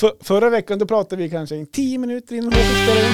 För, förra veckan då pratade vi kanske i 10 minuter innan låten spelade in.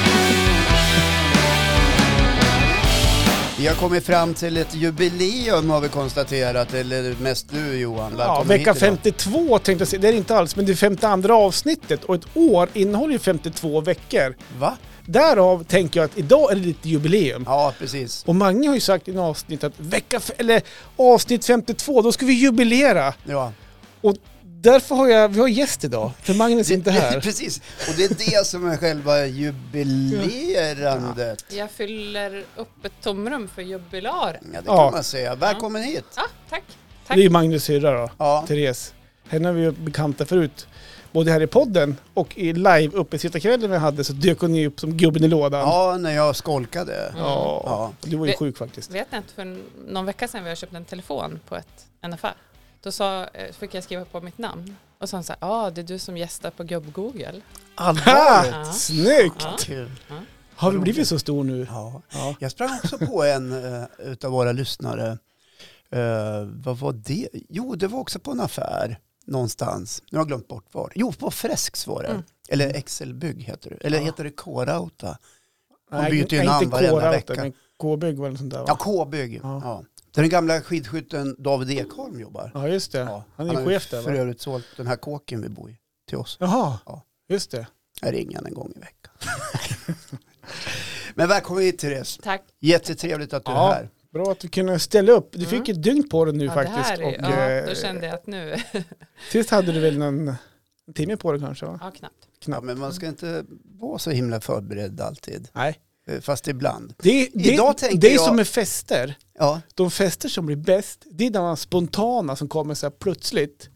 Vi har kommit fram till ett jubileum har vi konstaterat, eller mest du Johan. Ja, Välkommen vecka hit idag. 52 tänkte jag säga. Det är det inte alls, men det är 52 avsnittet och ett år innehåller ju 52 veckor. Va? Därav tänker jag att idag är det lite jubileum. Ja, precis. Och Mange har ju sagt i en avsnitt att vecka, f- eller avsnitt 52, då ska vi jubilera. Ja. Och därför har jag, vi har gäst idag, för Magnus är inte här. precis, och det är det som är själva jubilerandet. Jag fyller upp ett tomrum för jubilaren. Ja, det Ja. kan man säga. Välkommen hit. Ja, tack. Det Tack. är ju Magnus syrra då, Ja. Therese. Henne har vi ju bekanta förut. Både här i podden och i live uppesittarkvällen vi hade så dök hon ju upp som gubben i lådan. Ja, när jag skolkade. Ja. Ja. Du var ju Vi- sjuk faktiskt. Vet ni att för någon vecka sedan vi har köpt en telefon på ett, en affär. Då sa, eh, fick jag skriva på mitt namn. Och så sa han så här, ja ah, det är du som gästar på gubb-Google. Allvarligt? Ja. Snyggt! Ja. Kul. Har vi blivit så stor nu? Ja. Ja. Jag sprang också på en uh, utav våra lyssnare. Eh, vad var det? Jo, det var också på en affär någonstans. Nu har jag glömt bort var. Jo, på Fresks var det. Mm. Eller Excelbygg heter det. Eller Ja. heter det K-Rauta? Hon Nej, byter ju nej, namn inte varenda K-Rauta, vecka. men K-bygg var eller sånt där va? Ja, K-bygg. Ja. Ja. Där den gamla skidskytten David Ekholm jobbar. Ja, just det. Ja. Han är ju chef där för va? övrigt sålt den här kåken vi bor i till oss. Jaha, Ja. just det. Jag ringer han en gång i veckan. Men välkommen hit Therese. Tack. Jättetrevligt att du Ja. är här. Bra att du kunde ställa upp. Du fick Mm. ett dygn på dig nu Ja, det faktiskt. här är, och, ja, eh, då kände jag att nu, Sist hade du väl någon en timme på dig kanske? Va? ja knappt. Ja, men man ska inte vara så himla förberedd alltid. Nej. Eh, Fast ibland. Det, det, Idag tänkte det är jag- som med fester. Ja, De fester som blir bäst, det är de spontana som kommer så här plötsligt.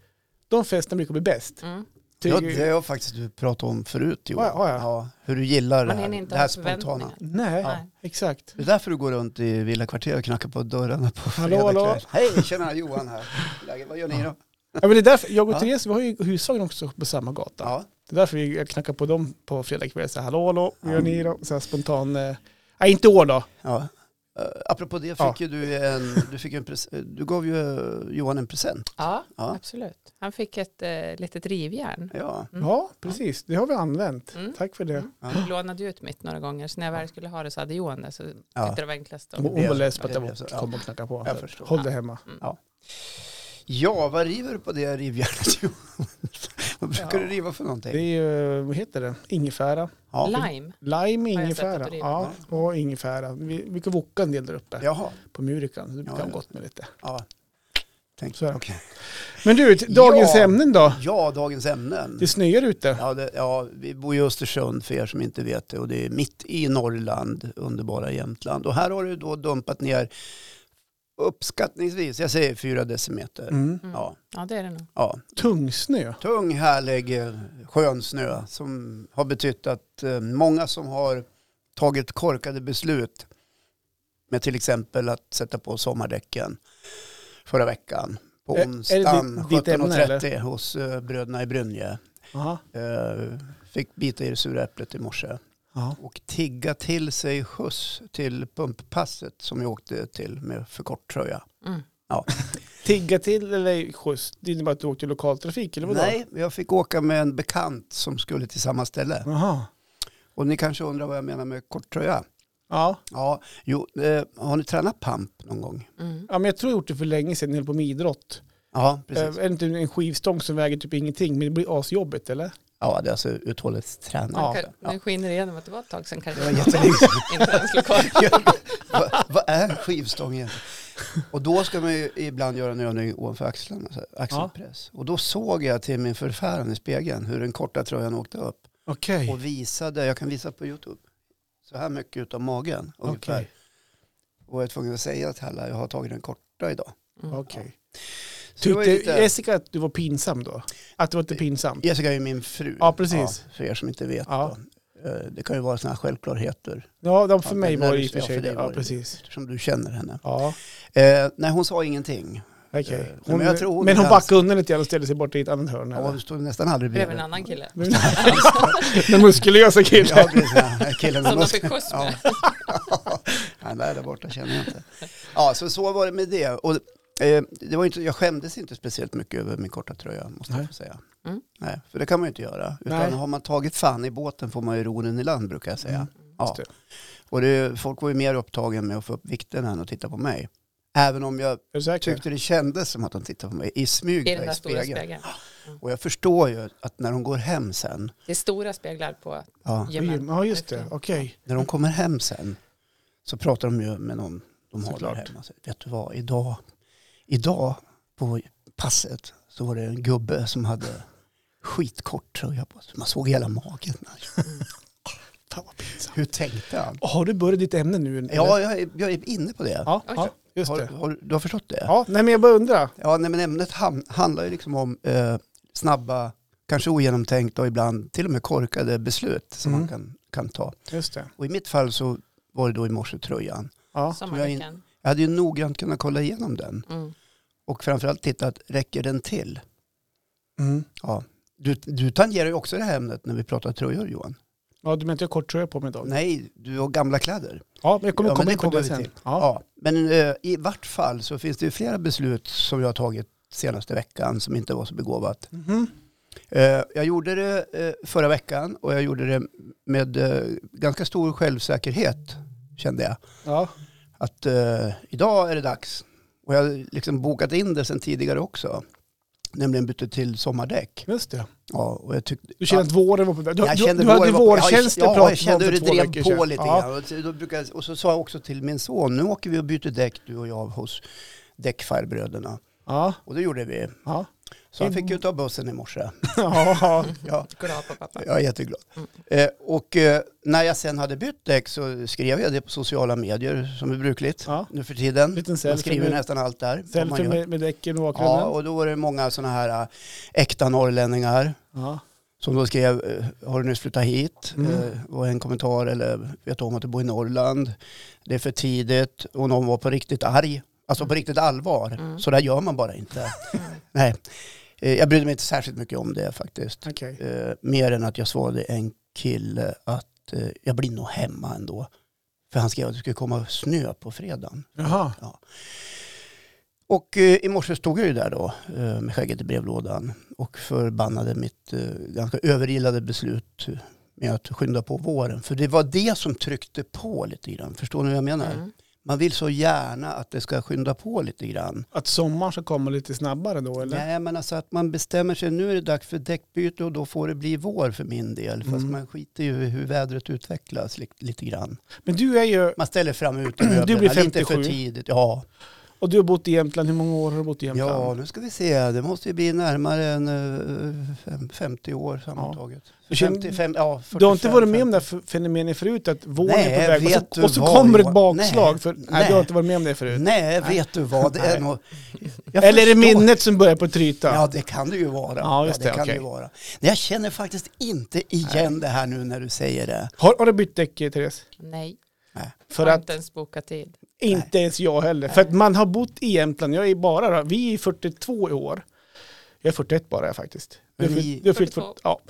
De festerna brukar bli bäst. Mm. Ty- ja det har jag faktiskt du pratat om förut Johan. Ja, ja, ja. hur du gillar det Man här, hinner inte det här ha spontana. förväntningar. Nej, Nej. exakt. Det är därför du går runt i Villa Kvarter och knackar på dörrarna på Hallå, fredag hallå. kväll. Hej, tjena Johan här. Läget, vad gör ni då? Ja, men det är därför, jag och Ja. Therese, vi har ju husvagn också på samma gata. Ja, Det är därför vi knackar på dem på fredag kväll. Så här, hallå, hallå, vad gör ni då? Så här spontan... eh, Nej, inte år då. ja. Eh, apropå det fick Ja. ju du en, du fick en pres- eh, du gav ju eh, Johan en present. Ja, Ja. absolut. Han fick ett eh, litet rivjärn. Ja, Mm. Ja, precis. Det har vi använt. Mm. Tack för det. Mm. Ja. Jag lånade ju ut mitt några gånger så när jag väl skulle ha det så hade Johan det så tyckte Ja. det var enklast. att- Hon hon var less på att det jag blev så, ja. kom och knackade på. Jag förstår. Håll det hemma. ja vad river du på det rivjärnet Johan? vad brukar Ja. du riva Det för är någonting? ju, vad heter det, ingefära. Ja. Lime. Lime, jag sett ingefära. att det är Ja, och ingefära. Vi vi brukar woka en del där uppe Jaha, på Murikan. så Det Ja, kan ja. gott med lite. ja. Tänk, Så är det. okej. Men du, till dagens Ja. ämnen då? Ja, dagens ämnen. Det snöar ute. Ja, det, ja, vi bor i Östersund för er som inte vet det och det är mitt i Norrland, underbara Jämtland. Och här har du då dumpat ner uppskattningsvis, jag säger fyra decimeter. Mm. Mm. Ja, Ja det är det nog. ja. Tung snö. Tung, härlig, eh, skön snö som har betytt att eh, många som har tagit korkade beslut med till exempel att sätta på sommardäcken förra veckan på Är- är det onsdagen ditt- ditt ämne, eller? 17.30 hos eh, bröderna i Brynje. Aha. Eh, fick bita i det sura äpplet i morse Ja. och tigga till sig skjuts till pumppasset som jag åkte till med för kort tröja. Mm. Tigga till eller skjuts? Det innebär att du åkte lokaltrafik eller vadå? Nej, jag fick åka med en bekant som skulle till samma ställe. Aha. Och ni kanske undrar vad jag menar med kort tröja. Ja. Ja, jo, eh, har ni tränat pump någon gång? Mm. ja, men jag tror jag gjort det för länge sedan, jag höll på med idrott. Ja, Eh, precis. Är det inte en skivstång som väger typ ingenting, men det blir asjobbigt eller? Ja, det är alltså uthållighetsträning. Ja. Ja, Ja. Nu skiner det igenom att det var ett tag sedan kanske. Det var jättelänge Inte ens lokal. Vad va är en skivstång egentligen? Och då ska man ju ibland göra en övning ovanför axlarna, så här, axelpress. Och då såg jag till min förfäran i spegeln hur den korta tröjan åkte upp Okej. och visade, jag kan visa på YouTube, så här mycket utav magen ungefär. Okej. Och jag är tvungen att säga till alla, jag har tagit den korta idag. Mm. Okej. Så det var Tyckte ju lite, Jessica att du var pinsam då? Att det var lite pinsamt? Jessica är ju min fru. Ja, precis. Ja, för er som inte vet. Ja. Då. Eh, Det kan ju vara sådana här självklarheter Ja, de för Ja, mig men var när det i du- och för ja, sig för det. dig Ja, var det. precis. som du känner henne. Ja, Eh, nej, hon sa ingenting. okej. Eh, Hon, men men jag tror hon hon kan- backade undan lite grann och ställde sig bort i ett annat hörn. Ja, eller? hon stod nästan aldrig Bredvid en bredvid. annan kille. Den muskulösa killen. Ja, precis. Ja, Killen med Som de muskler. fick skjuts med. Ja. Han är där borta känner jag inte. Ja, så så var det med det. Och, eh, det var inte, jag skämdes inte speciellt mycket över min korta tröja, måste Nej. jag få säga. Mm. Nej, för det kan man ju inte göra. Utan Nej. har man tagit fan i båten får man ju ro den i land brukar jag säga. Mm, Ja. just det. Och det, folk var ju mer upptagen med att få upp vikten än att titta på mig. Även om jag Är du säker? tyckte det kändes som att de tittade på mig i smyg I där den där i stora spegeln. spegeln. Och jag förstår ju att när de går hem sen, Det är stora speglar på ja, gymmen. Ja, just det. Okej. när de kommer hem sen så pratar de ju med någon de har där Såklart. hemma. Så, Vet du vad, idag, idag på passet så var det en gubbe som hade skitkort tröja på sig. Man såg hela magen. Fan vad pinsamt. Hur tänkte han? Har du börjat ditt ämne nu? eller? Ja, jag är, jag är inne på det. ja, Oj. ja just har, det. har, du har förstått det? Ja, nej men jag bara undrar. Ja, nej, men ämnet ham- handlar ju liksom om eh, snabba, kanske ogenomtänkta och ibland till och med korkade beslut som Mm. man kan, kan ta. Just det. Och i mitt fall så var det då i morse tröjan. Ja, sommarveckan. Jag hade ju noggrant kunnat kolla igenom den Mm. och framförallt tittat, räcker den till? mm. Ja. Du, du tangerar ju också det här ämnet när vi pratar tröjor Johan. ja du menar inte jag har kort tröja på mig idag? Nej, du har gamla kläder. Ja, men jag kommer Ja, men komma det in på kommer det vi sen. till. Ja. Ja. Men eh, i vart fall så finns det ju flera beslut som jag har tagit senaste veckan som inte var så begåvat. Mhm. Eh, Jag gjorde det eh, förra veckan och jag gjorde det med eh, ganska stor självsäkerhet kände jag. ja. Att eh, idag är det dags. Och jag har liksom bokat in det sen tidigare också. Nämligen bytte till sommardäck. just det. Ja, och jag tyckte... Du kände ja, att våren var på väg? Du, jag du, kände du hade våren var på- vårkänslor ja, jag- Ja, pratade jag kände om hur för det två drev veckor på sedan. lite grann. Och, så- då brukade, jag- och så sa jag också till min son, nu åker vi och byter däck du och jag hos däckfarbröderna. Ja. Och det gjorde vi. Ja. Så han fick ju ta bussen i morse. ja. ja. Mm. Ja. Glad på pappa. Jag är jätteglad. Eh, och eh, när jag sen hade bytt däck så skrev jag det på sociala medier som är brukligt Ja. nu för tiden. Liten man selfie skriver med- nästan allt där. vad man Selfie gör. med, med däcken i Ja, bakgrunden. och då var det många sådana här eh, äkta norrlänningar Ja. som då skrev eh, har du nyss flyttat hit? Mm. Eh, och en kommentar eller vet du om att du bor i Norrland? Det är för tidigt och någon var på riktigt arg. Alltså på riktigt allvar. Mm. Så där gör man bara inte. Nej, eh, jag brydde mig inte särskilt mycket om det faktiskt. Okej. Eh, mer än att jag svarade en kille att eh, jag blir nog hemma ändå. För han skrev att det skulle komma snö på fredagen. Jaha. Och eh, i morse stod jag ju där då eh, med skägget i brevlådan och förbannade mitt eh, ganska överilade beslut med att skynda på våren. För det var det som tryckte på lite grann. Förstår ni vad jag menar? Mm. Man vill så gärna att det ska skynda på lite grann. Att sommaren ska komma lite snabbare då eller? Nej, men alltså att man bestämmer sig, nu är det dags för däckbyte och då får det bli vår för min del. Fast Mm. man skiter ju i hur vädret utvecklas li- lite grann. Men du är ju, Man ställer fram Du blir utemöblerna lite 57. för tidigt. Ja. och du har bott i Jämtland, hur många år har du bott i Jämtland? ja, nu ska vi se. Det måste ju bli närmare än eh, fem- 50 år sammantaget. Du känner- 55, ja, 45, Du har inte varit med om det här f- fenomenet förut, att våren Nej, är på väg vet och du så, och så vad, kommer ett Johan? bakslag? Nej, för, nej, nej. du har inte varit med om det förut. Nej, vet du vad? Det Nej. är nog, Jag eller är det förstår- minnet som börjar på tryta? Ja, det kan det ju vara. Ja, just det, det, kan okej. det ju vara. Nej, jag känner faktiskt inte igen det här nu när du säger det. Har, har du bytt däck, eh, Therese? Nej, För har att, inte ens bokat tid. inte ens jag heller. För att man har bott i Jämtland, jag är bara, då, vi är 42 i år. Jag är 41 bara jag faktiskt. Du har Men vi- fyllt- du har fyllt 42. 40, ja.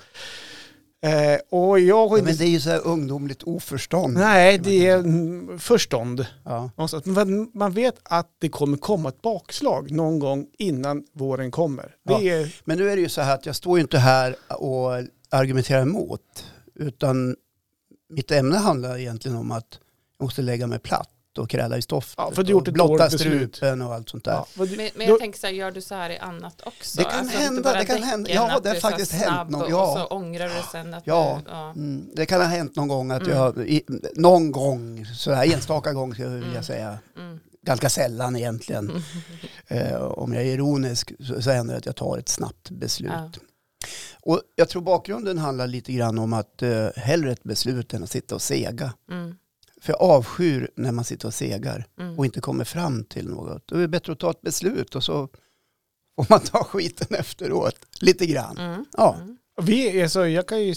Eh, och jag har Ja, inte... men det är ju så här ungdomligt oförstånd. nej, det är mm, förstånd. Ja. Någonstans. Men vad- man vet att det kommer komma ett bakslag någon gång innan våren kommer. Det Ja. är, Men nu är det ju så här att jag står ju inte här och argumenterar emot. Utan mitt ämne handlar egentligen om att jag måste lägga mig platt och kräla i stoftet. Ja, för du har gjort och ett blotta dåligt beslut. strupen och allt sånt där. ja, vad du- Men, men då- jag tänker så här, gör du så här i annat också? Det kan inte hända, bara det kan hända. däcken, Ja, att det har du är så faktiskt hänt snabb någon- och- ja. Och så ångrar du sen att Ja. du... Ja. Mm, det kan ha hänt någon gång att Mm. jag, i, någon gång, sådär enstaka gång skulle jag vilja Mm. säga, Mm. ganska sällan egentligen. Mm. Eh, om jag är ironisk så, så händer det att jag tar ett snabbt beslut. Ja. Och jag tror bakgrunden handlar lite grann om att eh, hellre ett beslut än att sitta och sega. Mm. För jag avskyr när man sitter och segar Mm. och inte kommer fram till något. Då är det bättre att ta ett beslut och så får man ta skiten efteråt. Lite grann. Mm. Ja. Mm. Vi är så, jag kan ju,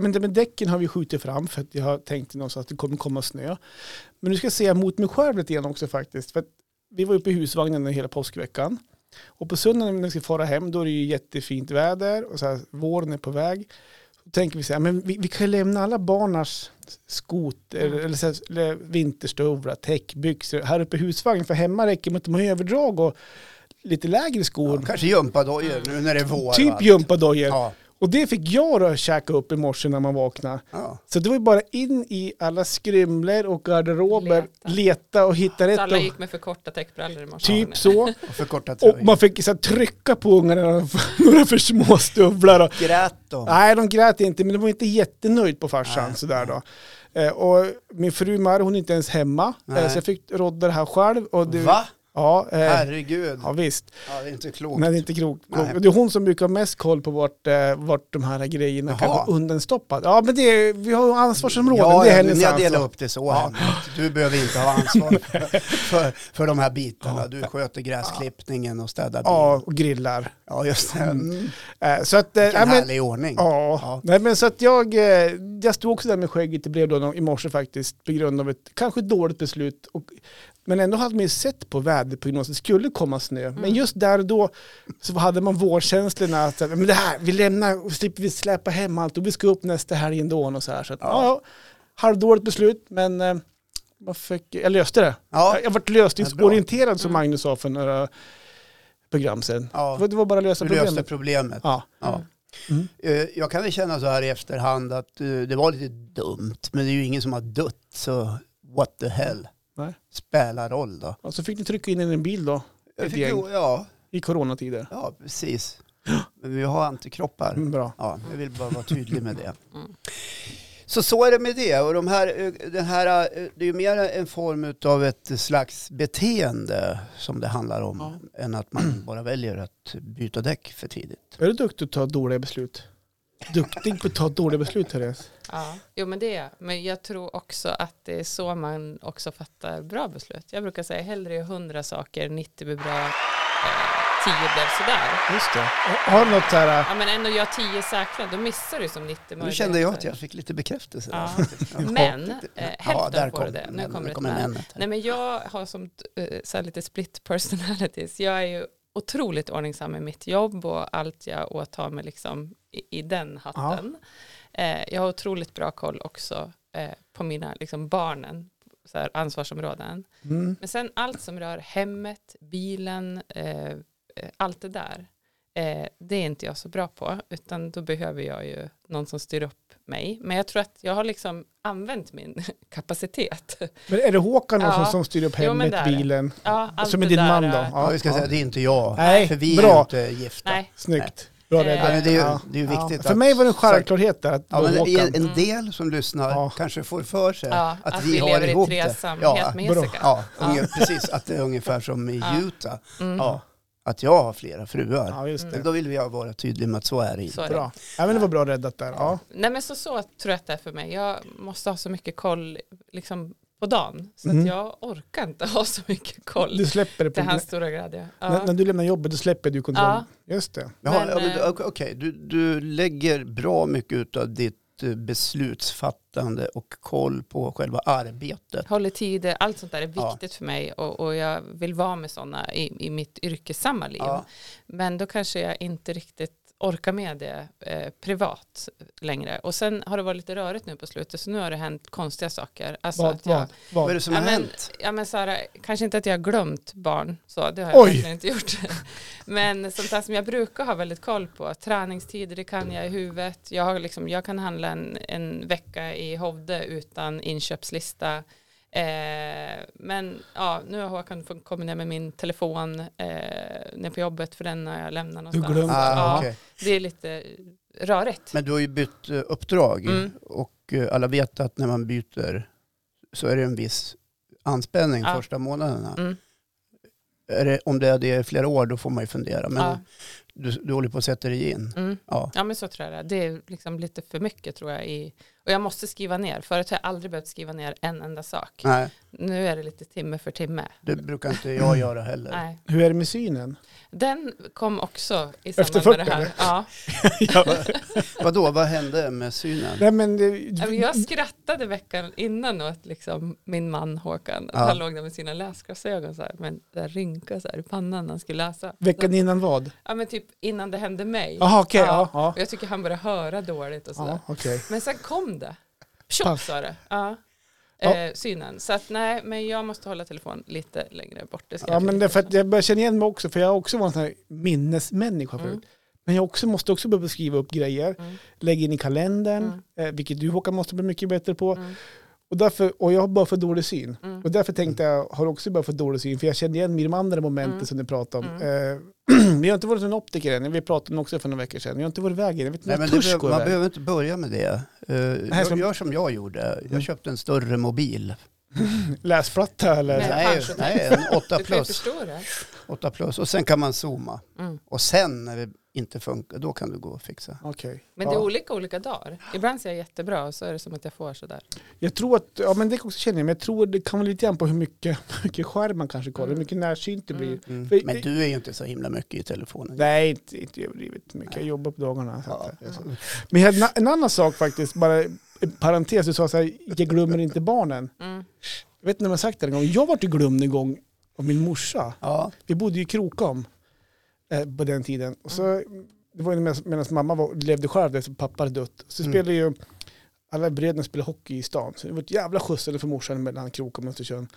men det med däcken har vi skjutit fram för att jag har tänkt någonstans att det kommer komma snö. Men nu ska jag säga mot mig själv lite grann också faktiskt. För att vi var uppe i husvagnen hela påskveckan. Och på söndagen när vi ska fara hem då är det ju jättefint väder och så här, våren är på väg. Då tänker vi så här, men vi, vi kan ju lämna alla barnas skoter Mm. eller, så här, eller vinterstövlar, täckbyxor här uppe i husvagnen. För hemma räcker det med att de har överdrag och lite lägre skor. Ja, kanske gympadojor nu när det är vår. Mm. typ va? gympadojor. Ja. Och det fick jag då käka upp i morse när man vaknade. ja. Så det var ju bara in i alla skrymler och garderober, Leta. leta, och hitta rätt. Så alla Och, gick med för korta täckbrallor i morse. typ så. Och förkortat Och man fick så här, trycka på ungarna när de några för små stövlar. Och, Grät då. nej, de grät inte, men de var inte jättenöjd på farsan. Nej. Sådär då. Eh, och min fru Mar, hon är inte ens hemma. Eh, Nej. så jag fick rodda det här själv. Och det, Va? Ja, eh, Herregud. ja, visst. Ja, det är inte klokt. Nej, det är inte klokt. Nej. Och Det är hon som brukar ha mest koll på vart, eh, vart de här grejerna kan Jaha. vara undanstoppade. Ja, men det är, vi har ju ansvarsområden, ja, det är ja, hennes ni har delat ansvar. upp det så. Henrik. Du behöver inte ha ansvar för, för, för de här bitarna. Du sköter gräsklippningen och städar bilen. Ja, och grillar. Ja, just det. Vilken Eh, så att, eh, ja, men, härlig ordning. ja. Ja. Nej, men så att jag, eh, jag stod också där med skägget i brevlådan i morse faktiskt på grund av ett kanske dåligt beslut. Och, men ändå hade man ju sett på väderprognosen, det skulle komma snö. Men just där och då så hade man vårkänslorna, att så här, men det här, vi lämnar, och slipper vi släpa hem allt och vi ska upp nästa helg ändå. Och så här, så att, ja. Ja. Ja, halvdåligt beslut, men eh, man fick, jag löste det. Ja. Jag, jag varit Ja, bra. Mm. lösningsorienterad som Magnus sa för några program sedan. Ja. Det var bara att lösa Du problemet. löste problemet. Ja. Ja. Mm. Eh, Jag kan väl känna så här i efterhand att eh, det var lite dumt, men det är ju ingen som har dött, så what the hell. Nej. Spelar roll då. Ja, så fick ni trycka in en bil då Jag Ett fick, gäng. ju- ja, i coronatider. ja, precis. Men vi har antikroppar. Mm, bra. Ja, jag vill bara vara tydlig med det. Mm. Så så är det med det. Och de här, eh, den här, eh, det är ju mer en form av ett slags beteende som det handlar om än att man bara väljer att byta däck för tidigt. Är du duktig att ta dåliga beslut? Duktig på att ta dåliga beslut, Therese. Ja. Jo men det är jag. Men jag tror också att det är så man också fattar bra beslut. Jag brukar säga hellre gör 100 saker, 90 blir bra, eh, 10 blev sådär. Just det. Har du något så här, Ja men ändå gör 10 säkra, då missar du som 90 möjligheter. Nu kände jag att jag fick lite bekräftelse. där. Ja. Ja. Men eh, hälften där får du kom det. Nu men- kommer där ett kom men. en men. Nej men jag har som eh, så här lite split personalities. Jag är ju otroligt ordningsam med mitt jobb och allt jag åtar mig liksom i, i den hatten. Eh, jag har otroligt bra koll också eh, på mina liksom barnen, så här ansvarsområden. mm, Men sen allt som rör hemmet, bilen, eh, eh, allt det där, eh, det är inte jag så bra på, utan då behöver jag ju någon som styr upp mig. Men jag tror att jag har liksom använt min kapacitet. men är det Håkan Ja. också som styr upp Jo, men hemmet, det är det. bilen? Ja, allt Som är det din där, man då? eh, Ja, vi ska säga att det är inte jag. Nej, för vi bra. är ju inte gifta. Nej, Snyggt. Bra Eh, Ja, räddat. men det är ju, Ja. det är ju viktigt. För att- mig var det en självklarhet där att Ja, det men var Håkan. en, en del som lyssnar Ja. kanske får för sig ja, Eh, att, vi, har lever ihop i det. tresamhet Ja, med bra. Jessica. Ja, unge- precis. Att det är ungefär som i Ja. Utah. Mm. Ja, att jag har flera fruar. Ja, just det. Men då vill jag vara tydlig med att så är Mm. det Så inte. är det. Bra. Ja, men det var bra räddat där. Ja. Nej men så, så tror jag att det är för mig. Jag måste ha så mycket koll liksom, på dagen. Så Mm. Mhm. att jag orkar inte ha så mycket koll. Du släpper det. På, Till hans stora glädje. Ja. när, när du lämnar jobbet, då släpper du kontrollen. Just det. Jaha, Men, ja, men, eh, okej, okej. du, du lägger bra mycket av ditt eh, beslutsfattande och koll på själva arbetet. Håller tider, allt sånt där är Ja. viktigt för mig och, och jag vill vara med sådana i, i mitt yrkesamma liv. Ja. Men då kanske jag inte riktigt orkar med det eh, privat längre. Och sen har det varit lite rörigt nu på slutet så nu har det hänt konstiga saker. Alltså Vad, att jag, vad, Vad är vad? det som ja, har men, hänt? ja, men Sara, kanske inte att jag har glömt barn, så det har jag Oj. verkligen inte gjort. men sånt där som jag brukar ha väldigt koll på, träningstider, det kan jag i huvudet. Jag, har liksom, jag kan handla en, en vecka i Hovde utan inköpslista. Eh, men ja, nu har Håkan fun- kommit ner med min telefon eh, ner på jobbet för den har jag lämnat någonstans. glömt ja, Ah, okej. Det är lite rörigt. Men du har ju bytt eh, uppdrag Mm. och eh, alla vet att när man byter så är det en viss anspänning Ja. första månaderna. Mm. Är det, om det är det i flera år då får man ju fundera. Men Ja. du, du håller på att sätta dig in. Mm. Ja. Ja men så tror jag det är. Det är liksom lite för mycket tror jag. I, och jag måste skriva ner. Förut har jag aldrig behövt skriva ner en enda sak. Nej, Nu är det lite timme för timme. det brukar inte jag göra heller. Mm. Nej. Hur är det med synen? Den kom också i Efter samband med det 40, här. eller? Ja. Vadå, vad hände med synen? Nej, men, eh, det- Ja, men Jag skrattade veckan innan åt liksom min man Håkan. Ja. Han låg där med sina läsglasögon så här. Men där rynka så här i pannan när han skulle läsa. veckan innan vad? Ja men typ innan det hände mig. Jaha, okej. Ja. ja. Ja, Och jag tycker han började höra dåligt och sådär. ja, okej. Men sen kom det. Tjoff Paff. sa det. Ja. Ja. eh, synen. Så att nej, men jag måste hålla telefonen lite längre bort. Det ska Ja, jag men försöka. det är för att jag börjar känna igen mig också, för jag har också varit en sån här minnesmänniska Mm. förut. Men jag också, måste också börja skriva upp grejer, Mm. lägga in i kalendern, Mm. eh, vilket du Håkan måste bli mycket bättre på. Mm. Och, därför, och jag har bara för dålig syn. Mm. Och därför tänkte jag, har också bara för dålig syn, för jag känner igen mig i de andra momenten Mm. som du pratade om. Eh, vi har inte varit hos en optiker än, vi pratade om det också för några veckor sedan. Jag har inte varit iväg än, jag vet inte Nej, om men jag det törs behöver, gå man iväg. behöver inte börja med det. Eh, som- gör, gör som jag gjorde. Mm. Jag köpte en större mobil. Läsplatta eller? Nej. Nej, pensionär. nej en 8 Du kan ju plus. förstå det. 8 plus. Och sen kan man zooma. Mm. Och sen när det inte funkar, då kan du gå och fixa. Okej. Men ja. det är olika olika dagar. Ibland ser jag jättebra och så är det som att jag får sådär. Jag tror att, ja men det också känner jag, men jag tror det kan vara lite grann på hur mycket, hur mycket skärm man kanske kollar, hur mycket närsynt det blir. Mm. Mm. För- Men du är ju inte så himla mycket i telefonen. Nej, inte, inte överdrivet mycket. Jag jobbar på dagarna. Så Ja, att, Men jag hade na- en annan sak faktiskt, bara en parentes, du sa så här, jag glömmer inte barnen. Mm. Jag vet inte om jag har sagt det en gång, jag vart ju glömd en gång av min morsa. ja. Vi bodde ju i Krokom eh, på den tiden. Och så, det var ju medan, medan mamma var, levde själv efter pappa hade dött. Så Mm. spelade ju alla bröderna spelade hockey i stan. Så det var ett jävla skjutsande för morsan mellan Krokom och Östersund.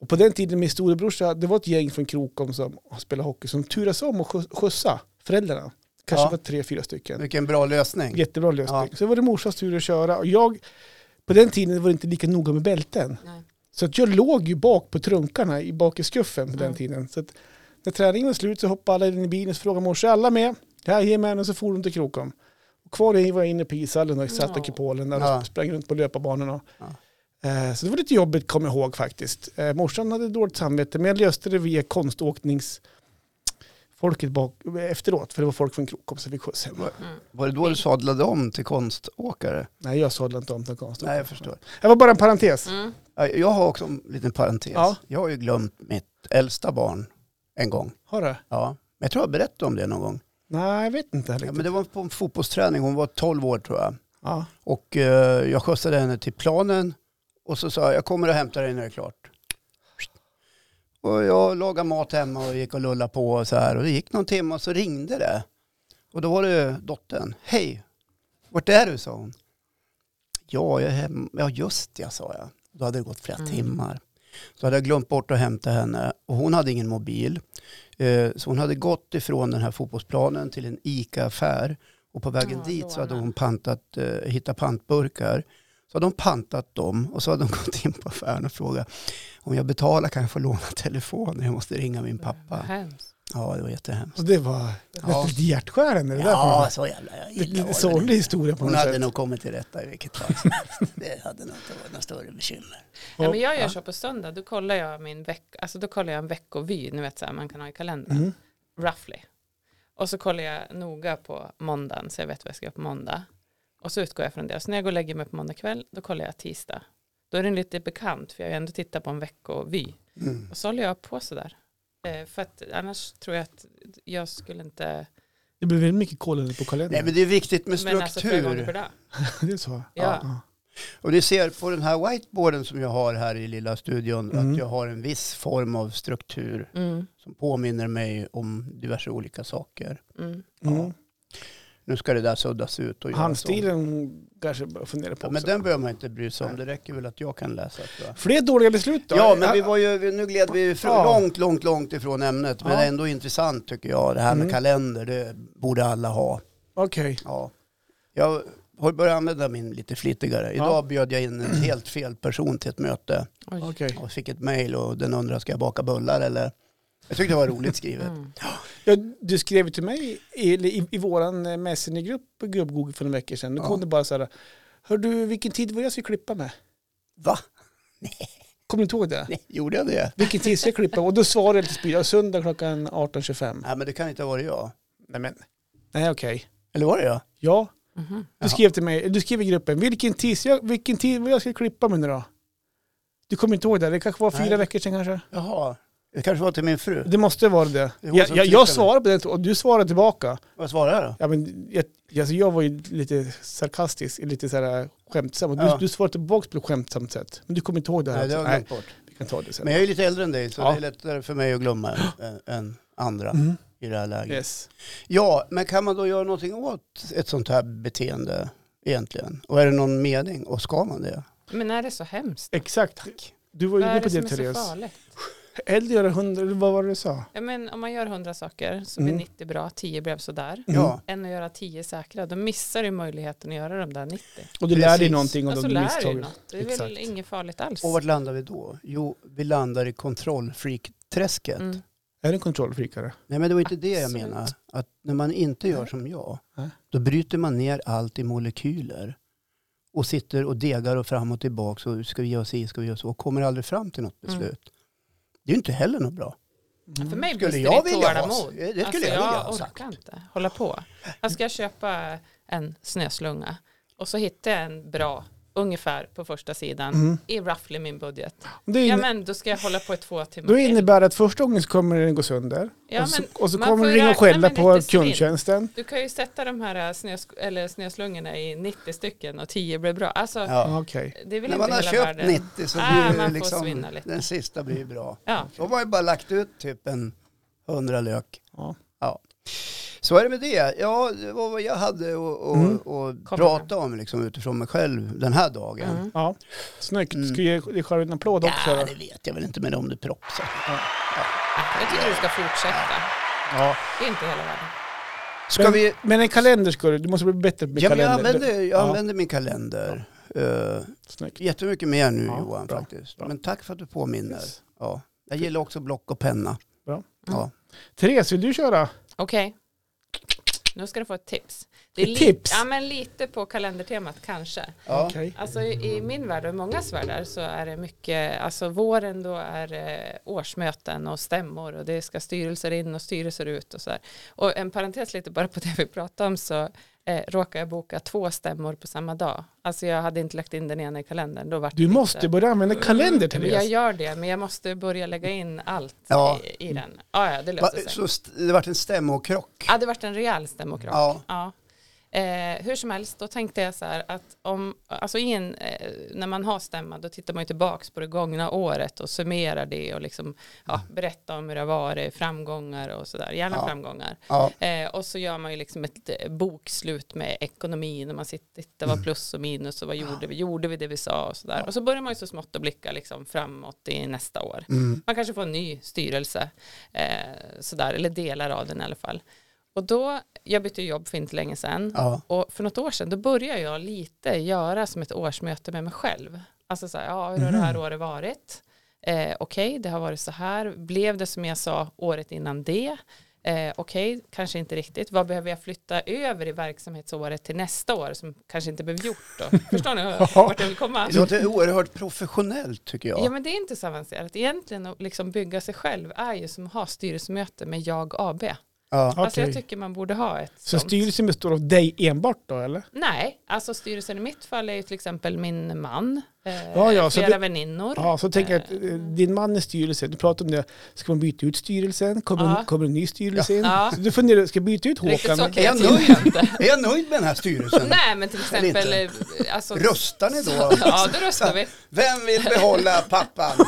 Och på den tiden min storebrorsa, det var ett gäng från Krokom som spelade hockey som turas om och skjuts- skjutsa föräldrarna. Kanske Ja. var tre, fyra stycken. Vilken bra lösning. Jättebra lösning. Ja. Så var det morsans tur att köra. Och jag, på den tiden var det inte lika noga med bälten. Nej. Så att jag låg ju bak på trunkarna i bak i skuffen på den Mm. tiden. Så att när träningen var slut så hoppade alla in i bilen och frågade morsan, är alla med? Ja, jajamän, och så for de till Krokom. Och kvar i var jag inne på ishallen och satt i Ja. kupolen där Ja. och sprang runt på löparbanorna. Eh, Så det var lite jobbigt, kommer jag ihåg faktiskt. Eh, Morsan hade dåligt samvete, men jag löste det via konståkningsfolket bak, eh, efteråt, för det var folk från Krokom som fick skjuts hem. Var, Mm. var det då du sadlade om till konståkare? Nej, jag sadlade inte om till konståkning. Nej, jag förstår. Det var bara en parentes. Mm. Ja, Jag har också en liten parentes. Ja. Jag har ju glömt mitt äldsta barn en gång. Har du? Ja. Men jag tror jag berättade om det någon gång. Nej, jag vet inte Ja, riktigt. men det var på en fotbollsträning, hon var 12 år tror jag. Ja. Och eh, jag skjutsade henne till planen och så sa jag, jag kommer och hämtar dig när det är klart. Och jag lagade mat hemma och gick och lullade på och så här. Och det gick någon timme och så ringde det. Och då var det dottern. Hej, vart är du? sa hon. Ja, jag är hemma. Ja, just det, sa jag. Då hade det gått flera Mm. timmar. Så hade jag glömt bort att hämta henne och hon hade ingen mobil. Eh, Så hon hade gått ifrån den här fotbollsplanen till en ICA-affär och på vägen Ja, dit så hade låna. hon pantat, eh, hittat pantburkar. Så hade hon pantat dem och så hade hon gått in på affären och frågat om jag betalar kan jag få låna telefonen, jag måste ringa min pappa. Hemskt. Ja, det var jättehemskt. Så det var Ja. lite hjärtskärande. Det där på något Ja, sätt. så jävla jag lite gillar lite honom. sorglig historia på Hon något hade sätt. nog kommit till rätta i vilket fall som helst. Det hade nog inte varit några större bekymmer. Nej, men jag gör Ja. så på söndag, då kollar jag min veck, alltså då kollar jag en veckovy, ni vet så här, man kan ha i kalendern, Mm. roughly. Och så kollar jag noga på måndagen, så jag vet vad jag ska göra på måndag. Och så utgår jag från det. Så när jag går och lägger mig på måndag kväll, då kollar jag tisdag. Då är den lite bekant, för jag har ju ändå tittat på en veckovy. Mm. Och så håller jag på sådär. Eh, för att annars tror jag att jag skulle inte... Det blev väldigt mycket kollande på kalendern. Nej, men det är viktigt med Men alltså flera gånger struktur. per dag. det är så. Ja. Och ni ser på den här whiteboarden som jag har här i lilla studion Mm. att jag har en viss form av struktur Mm, som påminner mig om diverse olika saker. mm. Mm. Nu ska det där suddas ut och göras om. Handstilen kanske bör fundera på Ja, också. men den behöver man inte bry sig om. Det räcker väl att jag kan läsa. Tror jag. Fler dåliga beslut då? Ja, men vi var ju, vi- nu gled vi ifrån, Ja. långt, långt, långt ifrån ämnet. Men Ja. ändå intressant tycker jag. Det här med Mm. kalender, det borde alla ha. Okej. Ja. Jag har börjat använda min lite flittigare. Idag Ja. bjöd jag in en helt fel person till ett möte Oj. Okej. och fick ett mejl och den undrade, ska jag baka bullar eller? Jag tyckte det var roligt skrivet. Mm. Ja, du skrev ju till mig i, eller i, i vår Messenger-grupp på Gubb-Google för några veckor sedan. Då kom Ja. det bara så här, hör du vilken tid var det jag skulle klippa med? Va? Kommer du inte ihåg det? Nej, gjorde jag det? Vilken tid ska jag klippa? Och då svarade jag lite spydigt, söndag klockan 18.25. Nej, men det kan inte ha varit jag. Nej men, nej okej. Eller var det jag? Ja, Mhm. du Jaha. skrev till mig, du skrev i gruppen, vilken tid, ska jag, vilken tid var jag ska klippa med nu då? Du kommer inte ihåg det? Det kanske var fyra Nej. veckor sedan kanske? Jaha. Det kanske var till min fru. Det måste vara det. Det var Jag, som jag, jag tittade. svarade på det och du svarade tillbaka. Vad svarade jag då? Ja, men jag, alltså jag var ju lite sarkastisk, lite så här äh, skämtsam. Och Du, Ja. du svarade tillbaka på ett skämtsamt sätt. Men du kommer inte ihåg det här? Nej, det har alltså. jag glömt bort. vi kan ta det sen. Men jag är lite äldre än dig så Ja. det är lättare för mig att glömma än, än andra Mm. i det här läget. Yes. Ja, men kan man då göra någonting åt ett sånt här beteende egentligen? Och är det någon mening och ska man det? Men är det så hemskt? Exakt. Du var ju Vad inne är på det det som är så Therese. farligt? Eller göra hundra, eller vad var det du sa? Ja, men om man gör 100 saker så Mm. blir 90 bra, 10 blev sådär. Ja, Än att göra 10 säkra, då missar du möjligheten att göra de där 90. Och du lär dig Precis. någonting Och av så de Alltså, lär du ju misstagen. något. Det är väl Exakt. inget farligt alls. och vart landar vi då? Jo, vi landar i kontrollfreak-träsket. Mm. Är du en kontrollfrikare? Nej, men det var inte det jag Absolut. menar. Att när man inte gör Nej. som jag, Nej. då bryter man ner allt i molekyler och sitter och degar och fram och tillbaka och ska vi göra si, ska vi göra så och kommer aldrig fram till något Mm. beslut. Det är ju inte heller något bra. För Mm. mig Skulle brister jag det i vilja ha- tålamod. Alltså, det skulle jag vilja ha sagt. orkar inte hålla på. Här ska jag köpa en snöslunga och så hittar jag en bra ungefär på första sidan Mm. i roughly min budget. Det är Ja inne, men då ska jag hålla på i två timmar då till. innebär det att första gången så kommer den gå sönder. Ja, och så, men och så man kommer får den ringa och räkna skälla med på lite svinn. kundtjänsten. Du kan ju sätta de här snösk- eller snöslungorna i 90 stycken och 10 blir bra. Alltså Ja. Ah, Okej. det är väl När inte man har hela köpt världen. 90 så Ah, blir det man får liksom, svinna lite. den sista blir ju bra. Ja. Då har man ju bara lagt ut typ en 100 lök. Ja. Så är det med det. Ja, det var vad jag hade att Mm. mm. Kom prata om liksom, utifrån mig själv den här dagen. Mm. Ja, snyggt. Mm. Ska jag ge dig själv en applåd också? Ja, Ja, det vet jag väl inte, men om det propsar. Jag tycker du ska fortsätta. ja. Det är inte hela världen. Ska men, vi... men en kalender ska du, du måste bli bättre med Ja, men jag kalender. använder, jag Ja. använder min kalender. Uh, Snyggt. jättemycket mer nu Ja, Johan bra, faktiskt. bra. Men tack för att du påminner. Yes. Ja. Jag gillar också block och penna. Bra. Ja. Therese, vill du köra? Okej. Nu ska du få ett tips. Det är Ett li- tips? Ja men lite på kalendertemat kanske. Ja. Okej. Alltså i i min värld och i mångas världar så är det mycket, alltså våren då är det årsmöten och stämmor och det ska styrelser in och styrelser ut och så här. Och en parentes lite bara på det vi pratade om så eh, råkar jag boka två stämmor på samma dag. Alltså jag hade inte lagt in den ena i kalendern. Då var det Du lite- måste börja använda kalender, Mm, Men Jag Therese. gör det men jag måste börja lägga in allt Ja. i, i den. Ja, ja det Va, löser sig. så st- det vart en stämmokrock. Ja, det vart en rejäl stämokrock. Ja. Ja. Eh, hur som helst, då tänkte jag så här att om, alltså i en, eh, när man har stämma då tittar man ju tillbaks på det gångna året och summerar det och liksom, ja, berättar om hur det har varit, framgångar och sådär, gärna Mm. Ja. framgångar. Ja. Eh, och så gör man ju liksom ett eh, bokslut med ekonomin och man sitter, tittar vad plus och minus och vad gjorde vi, gjorde vi det vi sa och sådär. Och så börjar man ju så smått att blicka liksom framåt i nästa år. Mm. Man kanske får en ny styrelse, eh, sådär, eller delar av den i alla fall. Och då, jag bytte ju jobb för inte länge sedan, Ja. och för något år sedan, då började jag lite göra som ett årsmöte med mig själv. Alltså så här, ja, hur har det Mhm. här året varit? Eh, Okej, det har varit så här. Blev det som jag sa året innan det? Eh, Okej, kanske inte riktigt. Vad behöver jag flytta över i verksamhetsåret till nästa år som kanske inte blev gjort då? Förstår ni vart jag vill komma? Det låter oerhört professionellt tycker Ja. jag. men det är inte så avancerat. Egentligen att liksom bygga sig själv är ju som att ha styrelsemöte med jag AB. Ja. Alltså jag Okej. tycker man borde ha ett Så sånt. styrelsen består av dig enbart då, eller? Nej, alltså styrelsen i mitt fall är ju till exempel min man, eh, Ja, ja, så flera det- väninnor. Ja, så tänker jag att eh, din man är styrelse. Du pratar om det. Ska man byta ut styrelsen? Kommer, Ja. kommer en ny styrelse in? Ja. Så du funderar, ska jag byta ut Riktigt så Håkan? kan jag Är tycka inte. Är jag nöjd med den här styrelsen? Nej, men till Eller inte. exempel... eh, Alltså, Röstar ni då? Ja, då röstar vi. Vem vill behålla pappan?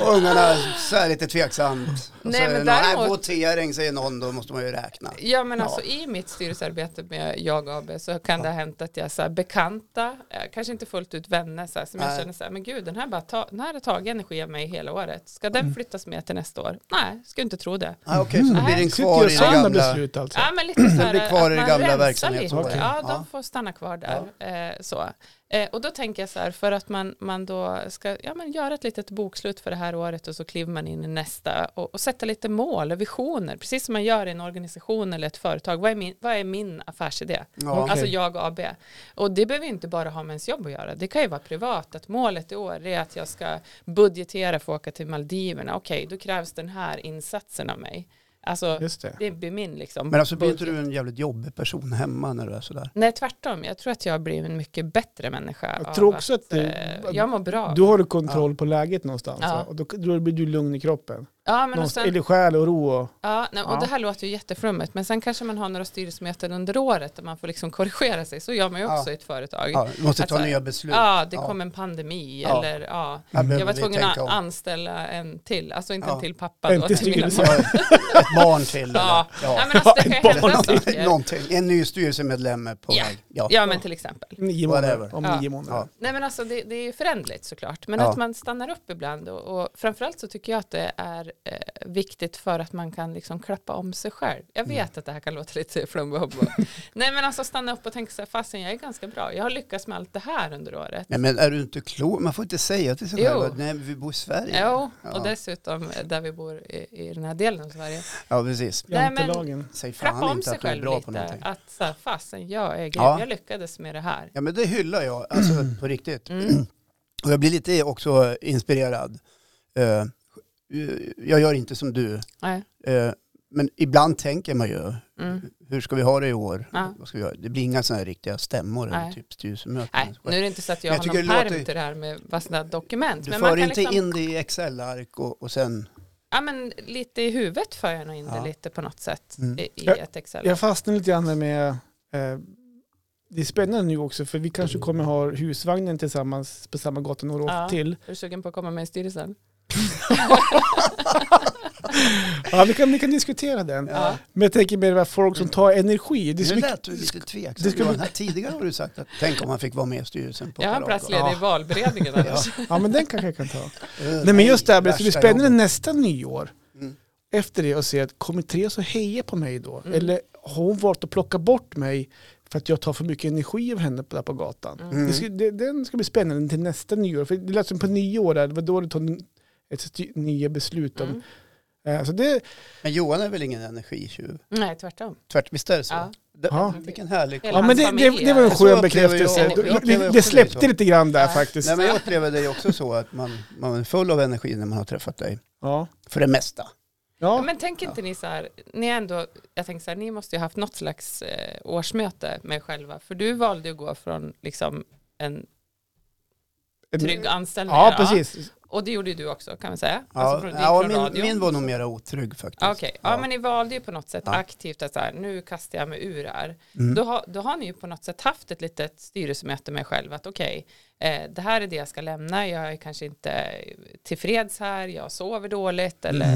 Och ungarna så här lite tveksamt. Och Nej, så är det men någon, "Nej, däremot- votering säger någon, då måste man ju räkna. Ja men alltså i mitt styrelsearbete med Jag AB så kan det ha hänt att jag så här, bekanta, eh, kanske inte fullt ut vänner så här, som Nej. jag känner så här, men gud den här, bara ta, den här har tagit energi av mig hela året, ska Mm. den flyttas med till nästa år? Nej, skulle inte tro det. Ah, Okej, så då blir den Sitter jag kvar och i det sådana gamla... beslut alltså? Ja, men lite så här, blir kvar i att det man gamla rensar verksamhetsåret. lite. Ja, Ja. de får stanna kvar där. Eh, så. Eh, och då tänker jag så här, för att man, man då ska ja, men göra ett litet bokslut för det här året och så kliver man in i nästa och, och sätta lite mål och visioner, precis som man gör i en organisation eller ett företag. Vad är min, vad är min affärsidé? Ja. Alltså jag AB. Och det behöver ju inte bara ha med ens jobb att göra. Det kan ju vara privat. Att målet i år är att jag ska budgetera för att åka till Maldiverna. Okej, då krävs den här insatsen av mig. Alltså, Just det. det blir min liksom. Men alltså blir budget. inte du en jävligt jobbig person hemma när du är sådär? Nej, tvärtom. Jag tror att jag blir en mycket bättre människa. Jag av tror också att du- eh, jag mår bra. Då har du kontroll på läget någonstans. Ja. va? Och då, då blir du lugn i kroppen. Ja, men och Någonstans, sen, Eller själ och ro. Och, ja, nej, och Ja. det här låter ju jätteflummigt, men sen kanske man har några styrelsemöten under året där man får liksom korrigera sig. Så gör man ju också Ja. i ett företag. Ja, Ja, vi måste ta Alltså, nya beslut. det Ja. kom en pandemi Ja. eller ja. Här behöver Jag var vi tvungen att tänka om. anställa en till, alltså inte Ja. en till pappa då Inte till mina styrelse. Ja, ett barn till. eller- Ja. Nej, Ja. men alltså, det kan ju Ett barn hända till. saker. Någonting. En ny styrelsemedlem är på Ja. väg. Ja. Ja, men till exempel. Nio Whatever. månader. Om Ja. nio månader. Ja. Nej men alltså det, det är ju föränderligt såklart. Men Ja. att man stannar upp ibland och, och framförallt så tycker jag att det är eh, viktigt för att man kan liksom klappa om sig själv. Jag Mm. vet att det här kan låta lite flumbo Nej men alltså stanna upp och tänka så här, fasen jag är ganska bra. Jag har lyckats med allt det här under året. Nej, men är du inte klok? Man får inte säga till sig Jo. själv att nej, vi bor i Sverige. Jo, Ja. och dessutom eh, där vi bor i, i den här delen av Sverige. Ja, precis. Nej, men- Jantelagen. Säg fan Klappa om inte sig att du är själv bra på lite. någonting. Att så här, fasen jag är grym. Ja. Jag lyckades med det här. Ja, men det hyllar jag, alltså på riktigt. Mm. Och jag blir lite också inspirerad. Eh, jag gör inte som du. Nej. Eh, men ibland tänker man ju, Mm. hur ska vi ha det i år? Ja. Vad ska vi göra? Det blir inga sådana här riktiga stämmor eller Nej. typ styrelsemöten. Nej, nu är det inte så att jag, Men jag har tycker någon det pärm låter- till det här med fasta dokument. Du men man för kan inte liksom... in det i Excel-ark och, och sen... ja, men lite i huvudet för jag nog in det Ja. lite på något sätt Mm. i, i Jag- ett Excel. Jag fastnar lite grann där med, eh, det är spännande nu också för vi kanske kommer ha husvagnen tillsammans på samma gata några år Ja. till. Är du sugen på att komma med i styrelsen? Ja, vi, kan, vi kan diskutera den. Ja. Men jag tänker mer det här folk som tar energi. Det Det är så nu mycket, lät du lite tveksam. det ska Johan. Här tidigare har du sagt att tänk om man fick vara med i styrelsen på Jag har en Paragon. plats ledig i valberedningen annars. ja, men den kanske jag kan ta. Eh, Nej, men just det här, det värsta ska bli spännande jobbet. nästa nyår. Mm. Efter det och se att kommer Therese och heja på mig då? Mm. Eller har hon valt att plocka bort mig för att jag tar för mycket energi av henne på- där på gatan? Mm. Mm. Det ska, det, den ska bli spännande till nästa nyår. För det lät som på nyår, där, det var då du tog n- ett sty- nya beslut om. Mm. Eh, så det, Men Johan är väl ingen energitjuv? Nej, tvärtom. Tvärt, visst är det så? Ja. Det, Ja. Vilken härlig ja, Hela men hans det, det, familj det var en är- Så upplever skön jag- bekräftelse. jag upplever Det, det också det släppte så. lite grann där Ja. faktiskt. Nej, men jag upplever dig också så att man, man är full av energi när man har träffat dig. Ja. För det mesta. Ja, Ja. men tänk inte ni så här, ni är ändå, jag tänker så här, ni måste ju haft något slags eh, årsmöte med er själva, för du valde ju att gå från liksom en trygg Mm. anställning. Ja, precis. Och det gjorde ju du också kan man säga. Ja, Alltså, från, ja, ja, från min, radio. min var nog mera otrygg faktiskt. Okej, ja, men ni valde ju på något sätt Ja. aktivt att så här, nu kastar jag mig ur här. Mm. Då, har, då har ni ju på något sätt haft ett litet styrelsemöte med er själv att okej, eh, det här är det jag ska lämna, jag är kanske inte tillfreds här, jag sover dåligt eller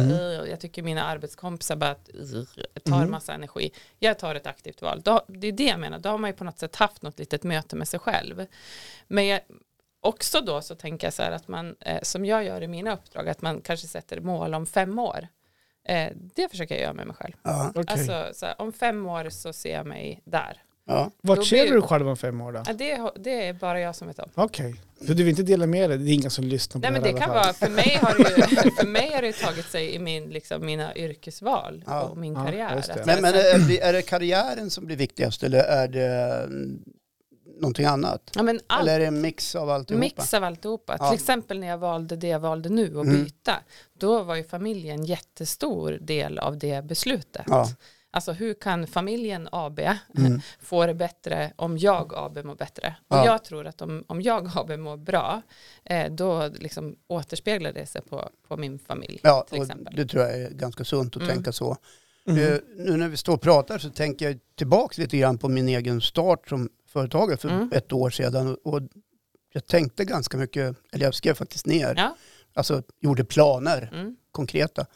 eh, jag tycker mina arbetskompisar bara att, eh, tar Mm. massa energi. Jag tar ett aktivt val. Då, det är det jag menar, då har man ju på något sätt haft något litet möte med sig själv. Men jag, också då så tänker jag så här att man, eh, som jag gör i mina uppdrag, att man kanske sätter mål om fem år. Eh, det försöker jag göra med mig själv. Ja, Okej. Alltså, så här, om fem år så ser jag mig där. ja. Vart då ser blir- du dig själv om fem år då? Ja, det, det är bara jag som vet om. Okej. Så du vill inte dela med dig? Det är inga som lyssnar på Nej, men här det i kan alla fall. vara, för mig har det ju, för mig har det ju tagit sig i min, liksom, mina yrkesval Ja. och min Ja, karriär. just det. Att liksom- Men, eh, jag- men är, det, är det karriären som blir viktigast eller är det mm, någonting annat? ja, men allt Eller är det en mix av alltihopa? Mix av alltihopa. Ja. Till exempel när jag valde det jag valde nu att Mm. byta. Då var ju familjen jättestor del av det beslutet. Ja. Alltså hur kan familjen AB Mm. få det bättre om jag AB mår bättre? Och Ja. jag tror att om, om jag AB mår bra, eh, då liksom återspeglar det sig på, på min familj. Ja, till och exempel. det tror jag är ganska sunt att Mm. tänka så. Mm. Eh, Nu när vi står och pratar så tänker jag tillbaka lite grann på min egen start som företagare för Mm. ett år sedan. Och jag tänkte ganska mycket, eller jag skrev faktiskt ner, Ja. alltså gjorde planer, Mm. konkreta.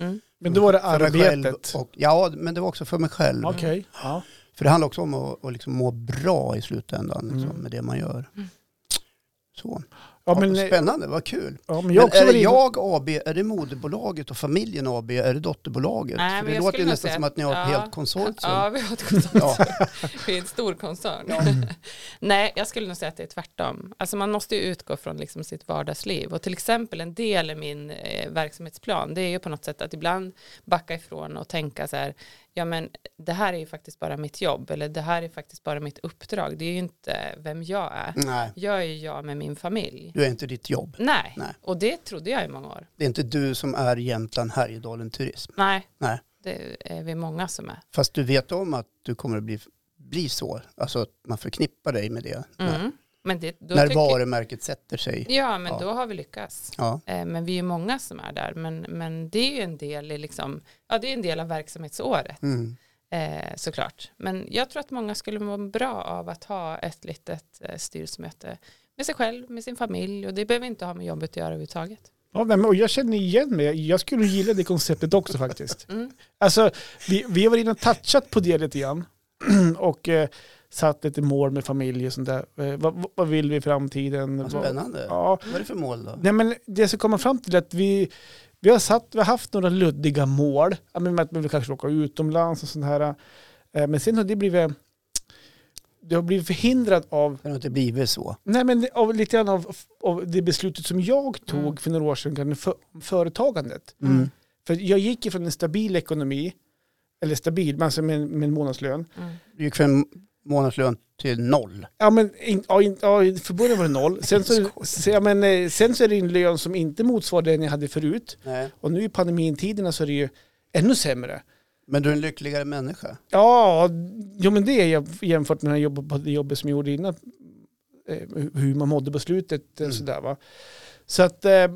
Men då var det För mig själv arbetet. Och, ja, men det var också för mig själv. Okej. Ja. För det handlar också om att, att liksom må bra i slutändan liksom, Mm. med det man gör. Mm. Så. Ja, men, Spännande, vad kul. ja, men Men jag också är var det inne- jag AB, är det moderbolaget och familjen AB, är det dotterbolaget? Nej, För men det jag låter skulle ju nog nästan säga som att ni har ett ja. helt konsortium. Ja, vi har ett konsortium. Ja. Vi är en stor koncern. Ja. Nej, jag skulle nog säga att det är tvärtom. Alltså man måste ju utgå från liksom sitt vardagsliv. Och till exempel en del i min eh, verksamhetsplan, det är ju på något sätt att ibland backa ifrån och tänka så här, ja men det här är ju faktiskt bara mitt jobb, eller det här är faktiskt bara mitt uppdrag. Det är ju inte vem jag är. Nej, Jag är ju jag med min familj. du är inte ditt jobb. Nej, Nej. och det trodde jag i många år. Det är inte du som är Jämtland Härjedalen Turism. Nej, Nej. det är vi många som är. Fast du vet om att du kommer att bli, bli så. Alltså att man förknippar dig med det. Mm. Men det, då när tycker- varumärket sätter typ. sig. Ja, men Ja. då har vi lyckats. Ja, Eh, Men vi är många som är där. Men, men det är ju en del, i liksom, ja, det är en del av verksamhetsåret mm. eh, såklart. Men jag tror att många skulle må bra av att ha ett litet eh, styrelsemöte med sig själv, med sin familj och det behöver inte ha med jobbet att göra överhuvudtaget. Ja, nej, men, och jag känner igen mig. Jag skulle gilla det konceptet också faktiskt. Mm. Alltså, vi, vi har varit inne och touchat på det lite grann. och eh, satt lite mål med familj och sånt där. Eh, vad, vad vill vi i framtiden? Vad Vad- spännande. Ja, Vad är det för mål då? Nej, men det som kommer fram till är att vi, vi, har satt, vi har haft några luddiga mål. Ja, men Att vi vill kanske åka utomlands och sånt här. Eh, Men sen har det blivit, det har blivit förhindrat av, Det har inte blivit så. nej men av, lite grann av, av det beslutet som jag tog Mm. för några år sedan gällande för, företagandet. Mm. För jag gick ifrån en stabil ekonomi, eller stabil, men alltså med, med en månadslön. Mm. Du gick från månadslön till noll. Ja men in, ja, in, ja, i förbundet var det noll. Sen så, sen, ja, men, eh, sen så är det en lön som inte motsvarar den jag hade förut. Nej. Och nu i pandemintiderna så är det ju ännu sämre. Men du är en lyckligare människa. Ja, jo men det är jag jämfört med det jobbet, på det jobbet som jag gjorde innan. eh, hu- Hur man mådde på slutet. eh, Mm. Sådär, va? Så att, eh,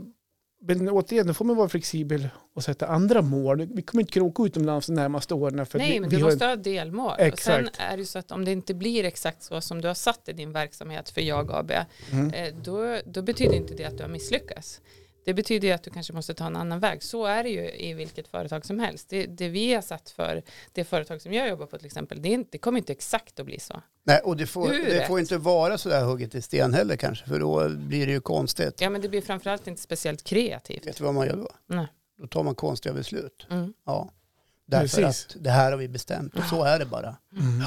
men återigen, då får man vara flexibel och sätta andra mål. Vi kommer inte kunna åka utomlands de närmaste åren. För vi, Nej, men vi du har måste ha delmål. Och sen Exakt. är det ju så att om det inte blir exakt så som du har satt i din verksamhet för jag AB, Mm. eh, då, då betyder inte det att du har misslyckats. Det betyder ju att du kanske måste ta en annan väg. Så är det ju i vilket företag som helst. Det, det vi har satt för det företag som jag jobbar på till exempel, det, är inte, det kommer inte exakt att bli så. Nej, och det får, Du är det rätt. får inte vara så där hugget i sten heller kanske, för då blir det ju konstigt. Ja, men det blir framförallt inte speciellt kreativt. Vet du vad man gör då? Nej. Då tar man konstiga beslut. Mm. Ja. Därför Precis. att det här har vi bestämt och så är det bara. Mm.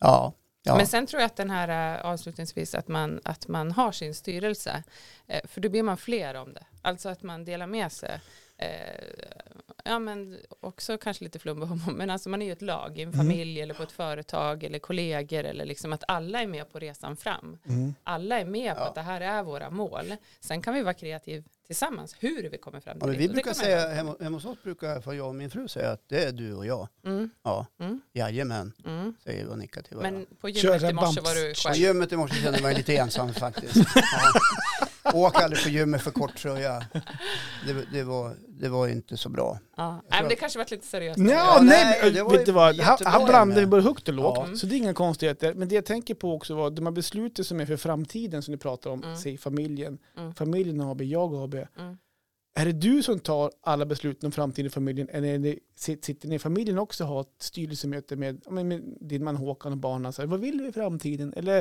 Ja. ja. Men sen tror jag att den här eh, avslutningsvis att man, att man har sin styrelse. eh, För då blir man fler om det. Alltså att man delar med sig. Eh, Ja men också kanske lite flum och humor, men alltså man är ju ett lag i Mm. en familj eller på ett företag eller kollegor eller liksom att alla är med på resan fram. Mm. Alla är med på Ja. att det här är våra mål. Sen kan vi vara kreativa tillsammans hur vi kommer fram Ja, till men det. vi Och det brukar kan man göra. säga, hemma, hemma hos oss brukar för jag och min fru säga att det är du och jag. Mm, Ja, mm, jajamän, mm. säger vi och nickar till varandra. Men på gymmet Köra i morse bumps. var du På själv. gymmet i morse kände jag mig lite ensam faktiskt. Ja. Åk aldrig på gymmet för kort tröja. Det, det, var, det var inte så bra. Ja. Nej, men det kanske varit lite seriöst. Ja, Ja, nej, nej, men, det var vet du ju vad, han, jättebra han blandade ämne. vi både högt och lågt, Ja. så det är inga konstigheter. Men det jag tänker på också var de här besluten som är för framtiden som ni pratar om, Mm. säg familjen, Mm. familjen AB, jag AB. Mm. Är det du som tar alla beslut om framtiden i familjen eller är det, sit- sitter ni i familjen också och har ett styrelsemöte med, ja, men med din man Håkan och barnen? Så här, vad vill vi i framtiden? Eller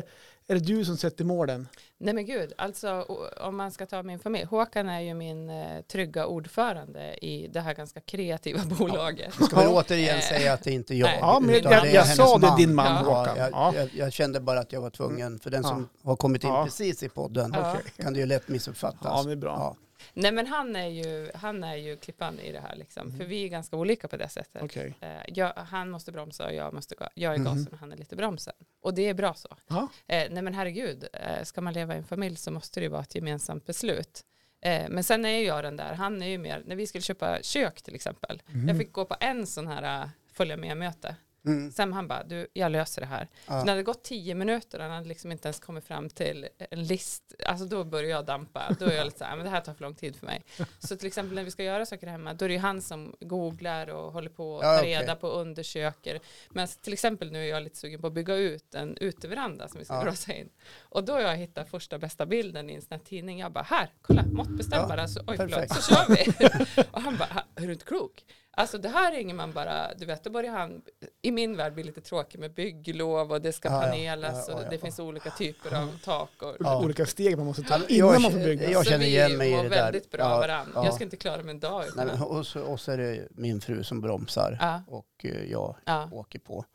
är det du som sätter målen? Nej men gud, alltså o- om man ska ta min familj. Håkan är ju min eh, trygga ordförande i det här ganska kreativa bolaget. Ska väl Ja. återigen säga att det är inte jag. Nej. Ja, men jag, utan utan jag, det är jag hennes sa det, din man Ja. Håkan. Ja, Ja. jag, jag, jag kände bara att jag var tvungen, för den som har kommit in Ja. precis i podden Ja. kan det ju lätt missuppfattas. Ja, det är bra. Ja. Nej men han är ju, han är ju klippan i det här liksom. För vi är ganska olika på det sättet. Okej. Eh, jag, han måste bromsa och jag, måste, ga- jag är gasen och han är lite bromsen. Och det är bra så. Ja. Eh, nej men herregud, eh, ska man leva i en familj så måste det ju vara ett gemensamt beslut. Eh, men sen är ju jag den där, han är ju mer, när vi skulle köpa kök till exempel, jag fick gå på en sån här eh, följa med-möte. Mm. Sen han bara, du, jag löser det här. Ja. Så när det gått tio minuter och han hade liksom inte ens kommit fram till en list, alltså då börjar jag dampa. Då är jag lite så här, men det här tar för lång tid för mig. Så till exempel när vi ska göra saker hemma, då är det ju han som googlar och håller på och Ja, tar okej. reda på och undersöker. Men till exempel nu är jag lite sugen på att bygga ut en uteveranda som vi ska Ja. blåsa in. Och då har jag hittat första bästa bilden i en sån här tidning. Jag bara, här, kolla, måttbestämmare. Ja, alltså, oj, förlåt, perfekt. så kör vi. och han bara, är du inte klok? Alltså det här ringer man bara, du vet, då börjar han i min värld blir lite tråkig med bygglov och det ska Ja, ja. panelas Ja, ja, och ja. det finns olika typer av tak. Och, Ja. Olika steg man måste ta Alltså, innan jag- man får bygga. jag- Så känner vi igen mig i mår det där. väldigt bra Ja, varandra. ja. Jag ska inte klara mig en dag Nej, utan men att- hos oss är det min fru som bromsar ja, och eh, jag ja, åker på.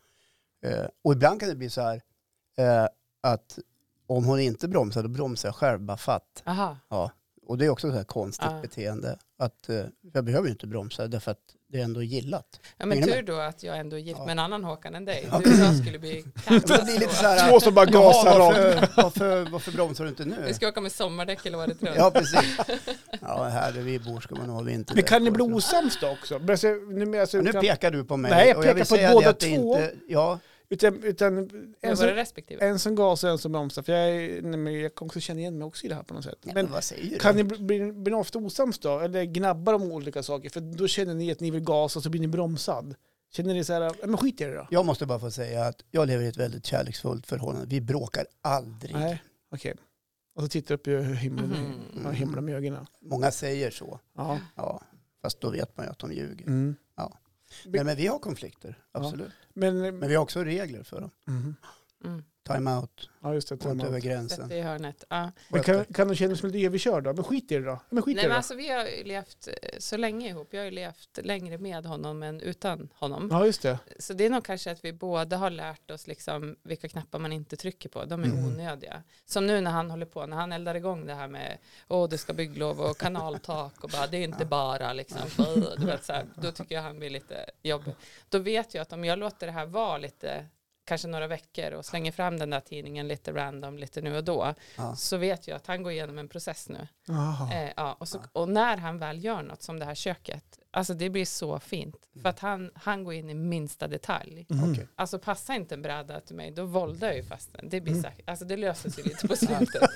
Eh, och ibland kan det bli så här eh, att om hon inte bromsar, då bromsar jag själv bara fatt. aha, Ja. Och det är också ett så här konstigt Ja. beteende. Att, eh, jag behöver ju inte bromsa därför att det är ändå gillat. ja, men Hänger ni tur då att jag ändå är gift Ja. med en annan Håkan än dig. Du och jag skulle bli Det blir lite så katastrof. här, Två som bara "Jaha, gasar rakt. varför, varför, varför bromsar du inte nu? Vi ska åka med sommardäck hela året runt. Ja, precis. Ja, här där vi bor ska man ha vinter. Men kan ni bli osams då också? Men alltså, nu, men alltså, Ja, nu kan- pekar du på mig. Nej, jag och pekar vill på säga båda det att det två. Inte, ja, Utan, utan Med en, våra som, respektive. Eh, en som gas och en som bromsar. För jag, är- nej, men jag kan också känna igen mig också i det här på något sätt. Nej, Men men vad säger du? kan ni bli, bli, bli ofta osams då? Eller gnabbar om olika saker? För då känner ni att ni vill gasa och så blir ni bromsad. Känner ni så här, "Ja, men skit i det då? Jag måste bara få säga att jag lever i ett väldigt kärleksfullt förhållande. Vi bråkar aldrig. Nej, okej. Och så tittar jag upp i himlen, Mhm. ja, himlen med ögonen. Många säger så, Ja. ja. fast då vet man ju att de ljuger. Mm. Nej, men vi har konflikter, Ja. absolut. Men, Men vi har också regler för dem. Mhm. Mm. Time-out, ja just det. gå inte timeout. över gränsen. Sätt dig i hörnet. Ja. Men kan, kan de känna sig lite överkörd då? Men skit i det då? Men skit Nej, i det men då? alltså, vi har ju levt eh, så länge ihop. Jag har ju levt längre med honom än utan honom. Ja just det. Så det är nog kanske att vi båda har lärt oss liksom vilka knappar man inte trycker på. De är Mm. onödiga. Som nu när han håller på, när han eldar igång det här med åh det ska bygglov och kanaltak och bara det är inte bara liksom. "Åh", Du vet, så här, då tycker jag han blir lite jobbig. Då vet jag att om jag låter det här vara lite kanske några veckor och slänger fram den där tidningen lite random lite nu och då Ja. så vet jag att han går igenom en process nu. Jaha. Eh, ja, och, så, och när han väl gör något som det här köket, alltså det blir så fint. För att han, han går in i minsta detalj. Mm. Okej. Alltså passa inte en bräda till mig, då våldar jag ju fast den. Det, blir Mm. säkert, alltså, det löser sig lite på slutet.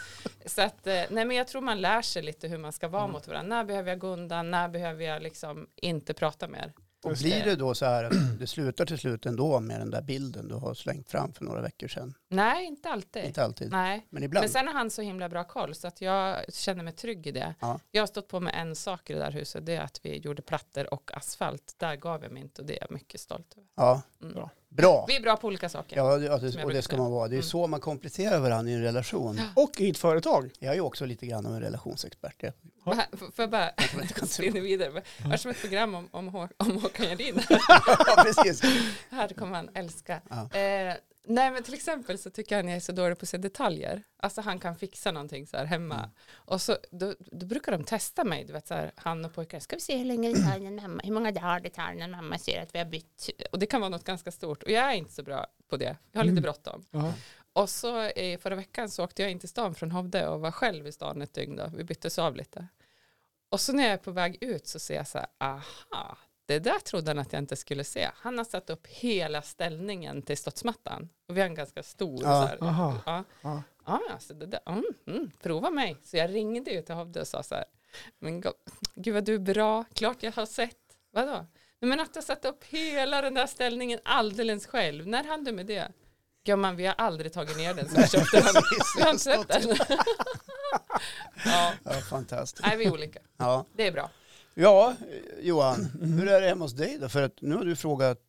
så att, eh, nej men jag tror man lär sig lite hur man ska vara Mm. mot varandra. När behöver jag gå undan? När behöver jag liksom inte prata mer? Och Just blir det. det då så här att det slutar till slut ändå med den där bilden du har slängt fram för några veckor sedan? Nej, inte alltid. Inte alltid, Nej. men ibland. Men sen har han så himla bra koll så att jag känner mig trygg i det. Ja. Jag har stått på med en sak i det där huset, det är att vi gjorde plattor och asfalt. Där gav jag mig inte och det är jag mycket stolt över. Ja. Mm. Bra. Bra! Vi är bra på olika saker. Ja, det- ja, det, och jag brukar det ska man vara. Det är Mm. så man kompletterar varandra i en relation. Och i ett företag. Jag är ju också lite grann av en relationsexpert. Jag Ja. Va- Får jag bara kommer inte kunna tro- spinna vidare? Det är som ett program om, om, Hå- om Håkan Jarin. ja, precis. Här kommer han älska. Ja. Eh, nej men till exempel så tycker han jag är så dålig på att se detaljer. Alltså han kan fixa någonting så här hemma. Mm. Och så då, då brukar de testa mig, du vet så här han och pojkarna, ska vi se hur länge det tar innan mamma, hur många dagar det tar innan mamma ser att vi har bytt. Och det kan vara något ganska stort och jag är inte så bra på det. Jag har lite Mm. bråttom. Ja. Och så eh, förra veckan så åkte jag in till stan från Hovde och var själv i stan ett dygn då. Vi byttes av lite. Och så när jag är på väg ut så ser jag så här, aha, det där trodde han att jag inte skulle se. Han har satt upp hela ställningen till studsmattan. Och vi har en ganska stor. Ja. Så här, Aha. Ja. Ja. Ja, alltså det där, mm, mm, prova mig. Så jag ringde ju till Hovde och sa så här, men go- gud vad du är bra, klart jag har sett. Vadå? Nej, men att jag satt upp hela den där ställningen alldeles själv, när hann du med det? Gumman, vi har aldrig tagit ner den som vi köpte den. Vi har inte sett den. ja, Ja, fantastiskt. nej, vi är olika. Ja. Det är bra. ja, eh, Johan, hur är det hemma hos dig då? För att nu har du frågat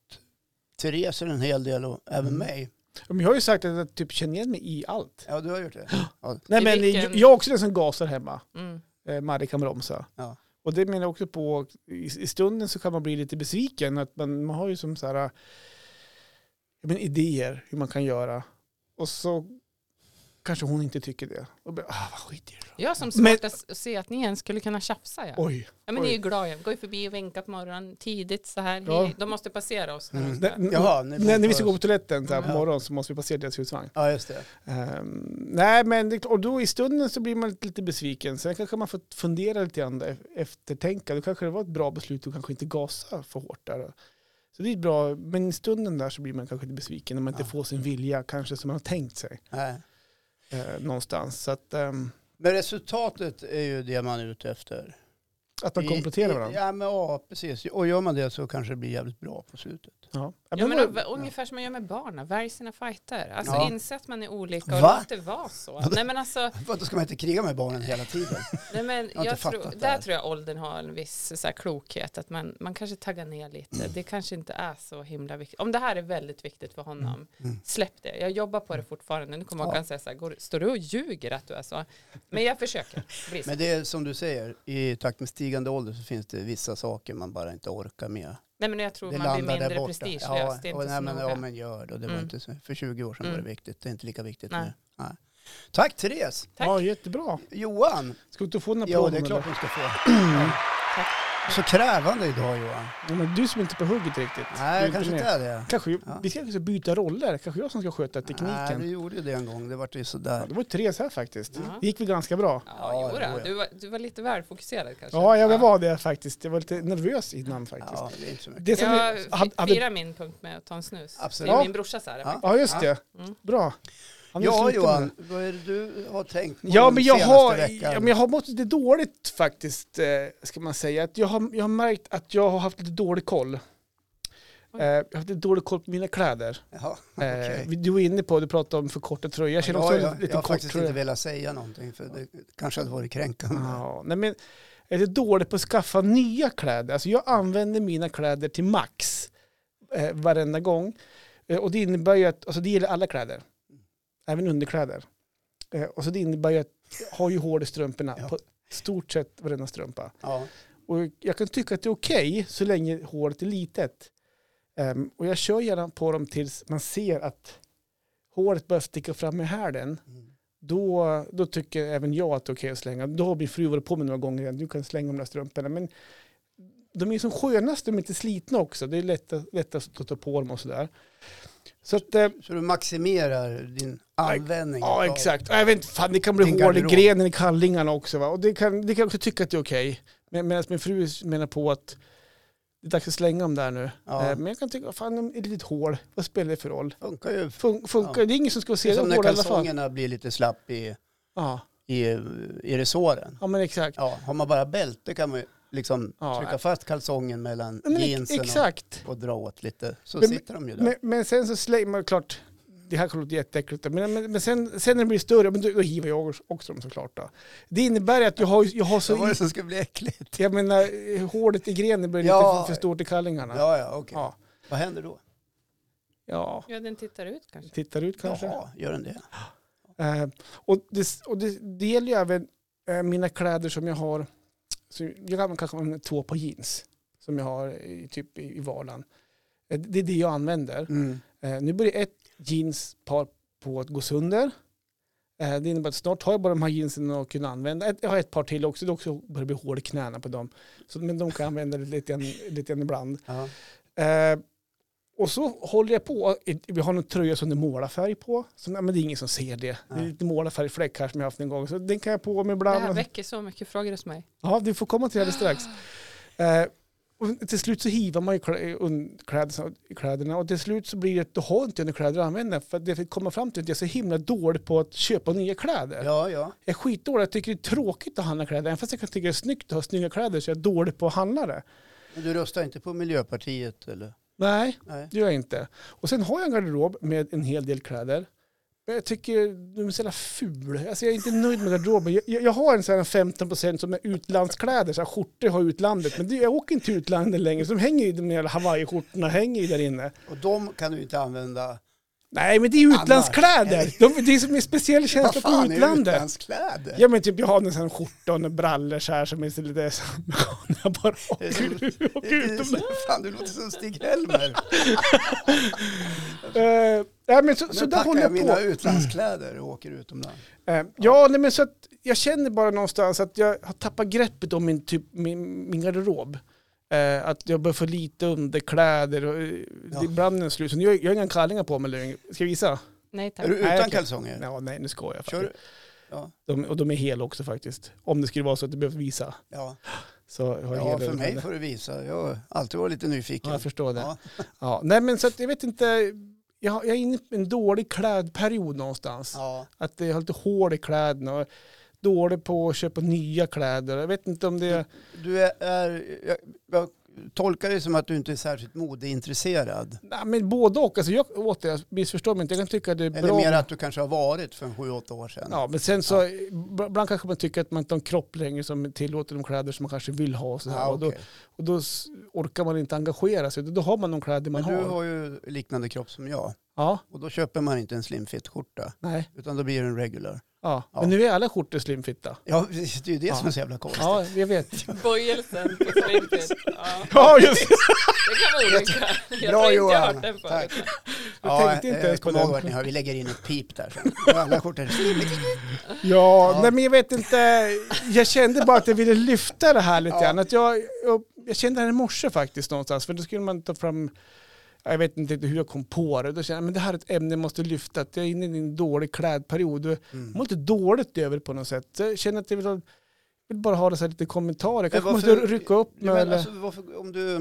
Therese en hel del och även Mm. mig. Men jag har ju sagt att jag typ känner igen mig i allt. Ja, du har gjort det. Ja, Nej I men vilken- jag är också den som gasar hemma. Mm. Eh, Marre kan bromsa. Ja. Och det menar jag också på, i, i stunden så kan man bli lite besviken. Att man, man har ju som så här, eh, ja, men idéer hur man kan göra. Och så kanske hon inte tycker det. Och bara, ah, vad skit i det då. Jag har som Men- svårt att s- se att ni ens skulle kunna tjafsa. Ja. Oj. Ja, men ni är ju glada. Jag går ju förbi och vinkar på morgonen tidigt så här. Ja. Hej. De måste passera oss. När de ska. N- n- Jaha, ni bor när, när vi på- ska gå på toaletten så här, på Ja. morgonen så måste vi passera deras husvagn. ja just det. Ehm, nej, men det, och då i stunden så blir man lite, lite besviken. Sen kanske man får fundera lite grann, där, eftertänka. Då kanske det var ett bra beslut och kanske inte gasa för hårt där. Så det är ett bra, men i stunden där så blir man kanske lite besviken när man Ja. inte får sin vilja kanske som man har tänkt sig Nej. eh, någonstans. Så att, ehm, Men resultatet är ju det man är ute efter. att man I- kompletterar i- varandra. Ja, men, ja, precis. Och gör man det så kanske det blir jävligt bra på slutet. Ja. Ja, men det- av- ungefär som man gör med barnen, välj sina fighter. Alltså Ja. inse att man är olika och Va? låt det vara så. Nej men alltså, För då ska man inte kriga med barnen hela tiden. nej, men har jag inte tror, fattat det där här. tror jag åldern har en viss så här, klokhet, att man, man kanske taggar ner lite. Det kanske inte är så himla viktigt. Om det här är väldigt viktigt för honom, släpp det. Jag jobbar på det fortfarande. Nu kommer Mm. Ja. jag kan säga så här, går, står du och ljuger att du är så? Men jag försöker. Bli så. Men det är som du säger, i takt med stigande ålder så finns det vissa saker man bara inte orkar med. nej men jag tror det man blir landar där mindre borta. prestigelös. Ja, det är och inte nej, så men, noga. ja, men gör det. Det var Mm. inte så, för 20 år sedan var Mm. det viktigt. Det är inte lika viktigt Nej. nu. Nej. Tack Therese! Tack. Ja, jättebra. Johan! Ska du inte få en applåd? Ja, det är om klart där? du ska få. Mm. Tack. Så krävande idag Johan. Ja, men du som inte är på hugget riktigt. Du Nej, är jag kanske med. inte är det. Kanske, Ja. Vi ska kanske byta roller. Kanske jag som ska sköta tekniken. Nej, du gjorde ju det en gång. Det vart ju ja, sådär. det var ju Therese här faktiskt. Ja. Det gick väl ganska bra. Ja, Ja, det jodå. går. Du, var, du var lite väl fokuserad kanske. Ja, jag var det faktiskt. Jag var lite nervös innan faktiskt. Ja, det är inte så mycket. Det som Jag vi- fi- hade- hade- firar min punkt med att ta en snus. Absolut. Det Ja. är min brorsa så här. Ja. Ja, just det. Mm. Bra. Han är Ja sliten med Johan, det. vad är det du har tänkt på Ja den men, jag senaste har, veckan? ja, men jag har mått lite dåligt faktiskt, eh, ska man säga. Att jag, har, jag har märkt att jag har haft lite dålig koll. Eh, Oj. jag har haft lite dålig koll på mina kläder. Jaha, Eh, okej. vi- Du var inne på, du pratade om för korta tröjor. Jag känner Ja, också jag, lite jag har kort faktiskt tröja. inte velat säga någonting för det kanske hade varit kränkande. Ja, nej men jag är lite dålig på att skaffa nya kläder. Alltså jag använder mina kläder till max eh, varenda gång. Eh, och det innebär ju att, alltså det gäller alla kläder. Även underkläder. Eh, och så det innebär ju att jag har ju hål i strumporna Ja. på stort sett varenda strumpa. Ja. Och jag kan tycka att det är okej så länge hålet är litet. Ehm, och jag kör gärna på dem tills man ser att håret börjar sticka fram i härden. Mm. Då, då tycker även jag att det är okej att slänga. Då har min fru varit på mig några gånger redan. Du kan slänga de där strumporna. Men de är ju som skönast, de är inte slitna också. Det är lättast, lättast att ta på dem och sådär. Så att, eh, Så du maximerar din användning? Ja, av- exakt. Och Jag vet inte, fan, det kan bli Din hål i garderob. grenen i kallingarna också. Va? Och det kan, det kan jag också tycka att det är okej. Men, Medan min fru menar på att det är dags att slänga dem där nu. Ja. Eh, Men jag kan tycka, vad fan, ett litet hål, vad spelar det för roll? Funkar ju. Fun, funkar, Ja. Det är ingen som ska Det se är det som när hål i alla fall. kalsongerna blir lite slapp i, Ja. i, i resåren. ja, men exakt. Ja, har man bara bälte kan man ju liksom Ja, trycka nej. fast kalsongen mellan Ja, Men, ex- jeansen exakt. Och, och dra åt lite. Så Men- sitter de ju där. Men, men sen så slänger man klart, det här kommer låta jätteäckligt, men, men, men sen, sen när det blir större, men då, då hivar jag också dem såklart. Då. Det innebär ju att jag har, jag har Vad var så... det som skulle bli äckligt? Jag menar, hålet i grenen blir Ja. lite för, för stort i kallingarna. Ja, ja, okej. Ja. Vad händer då? ja. Ja, den tittar ut kanske. tittar ut kanske. Jaha, gör den det? Eh, och det, och det, det gäller ju även eh, mina kläder som jag har. Så jag använder kanske en två par jeans som jag har i, typ i, i vardagen. Eh, det är det jag använder. Mm. Eh, nu börjar ett jeanspar på att gå sönder. Eh, det innebär att snart har jag bara de här jeansen att kunna använda. Ett, jag har ett par till också, det också börjar bli hål i knäna på dem. Så, men de kan jag använda lite grann, lite grann ibland. Ja. Eh, och så håller jag på, vi har en tröja som det är målarfärg på, så, nej, men det är ingen som ser det. Det är Nej. lite målarfärgfläck här som jag haft en gång, så den kan jag på mig Det här ibland. väcker så mycket frågor hos mig. Ja, du får komma till det alldeles strax. Eh, och till slut så hivar man ju klä- un- kläderna- kläderna och till slut så blir det att du har inte några kläder att använda. För att det jag kommer fram till är att jag är så himla dålig på att köpa nya kläder. ja, ja. Jag är skitdålig, jag tycker det är tråkigt att handla kläder. Även fast jag kan tycka det är snyggt att ha snygga kläder så jag är dålig på att handla det. Men du röstar inte på Miljöpartiet eller? Nej, Nej. Det gör jag inte. Och sen har jag en garderob med en hel del kläder. Men jag tycker de är så jävla ful. Alltså jag är inte nöjd med garderoben. Jag, jag jag har en sån här 15% som är utlandskläder, så här skjortor har utlandet. Men det, jag åker inte till utlandet längre, så de hänger ju, de jävla hawaiiskjortorna hänger ju där inne. Och de kan du inte använda. Nej men det är ju utlandskläder! De, det är som en speciell känsla på utlandet. utlandskläder? Ja men typ jag har en sån här skjorta och några brallor så här som är så lite som jag bara Det är som- åker, ut- åker utomlands. Fan, du låter som Stig-Helmer. Eh, nej, men så, Nu så där packar håller jag jag på. mina utlandskläder och åker utomlands. Eh, ja, nej, men så att jag känner bara någonstans att jag har tappat greppet om min, typ, min, min garderob. Eh, att jag börjar få lite underkläder och eh, Ja. det- ibland är det slut. Så nu har jag, jag har inga kallingar på mig längre. Ska jag visa? Nej Är tack. du utan okej. kalsonger? Ja, nej, nu skojar jag Kör du? faktiskt. Ja, De, och de är hela också faktiskt. Om det skulle vara så att du behöver visa. ja. Så har jag ja hela för mig underkläder. får du visa. Jag har alltid varit lite nyfiken. Ja, jag förstår det. Ja. Ja. nej, men så att jag vet inte. Jag, har- jag är inne i en dålig klädperiod någonstans. Ja. Att jag har lite hål i kläderna. Och dålig på att köpa nya kläder. Jag vet inte om det är... Du är, är jag, jag tolkar det som att du inte är särskilt modeintresserad. Nej, men både och. Alltså jag, återigen, missförstå mig inte. Jag kan tycka att det är Eller bra. mer att du kanske har varit för en sju, åtta år sedan. Ja, men sen så, b- ibland kanske man tycker att man inte har en kropp längre som tillåter de kläder som man kanske vill ha. Och, så Ja, och, då, okej. och då s- orkar man inte engagera sig. Då- Då har man de kläder man Men du har. har ju liknande kropp som jag. Ja, Och då köper man inte en slimfit-skjorta, nej. utan då blir det en regular. Ja. Ja. Men nu är alla skjortor slimfitta. Ja, det är ju det som är så jävla konstigt. Ja, jag vet. Böjelsen på slinket. Ja, Ja, just det. det kan vara olika. Bra, Jag tror inte jag har Johan. hört den Tack. förut. Jag tänkte inte eh, ens på kom ihåg den. vart ni hör. Vi lägger in ett pip där sen. Alla skjortor är slimfit. Ja, nej men jag vet inte. Jag kände bara att jag ville lyfta det här lite Ja. grann. Att jag, jag, jag kände det här i morse faktiskt någonstans. För då skulle man ta fram, jag vet inte riktigt hur jag kom på det. Då kände jag men det här är ett ämne jag måste lyfta. Att jag är inne i en dålig klädperiod. Jag Mm. mår lite dåligt över det på något sätt. Så Jag känner att jag vill, vill bara ha det så här lite kommentarer. Kanske måste rycka upp Ja, mig. men eller alltså, varför, om du, eh,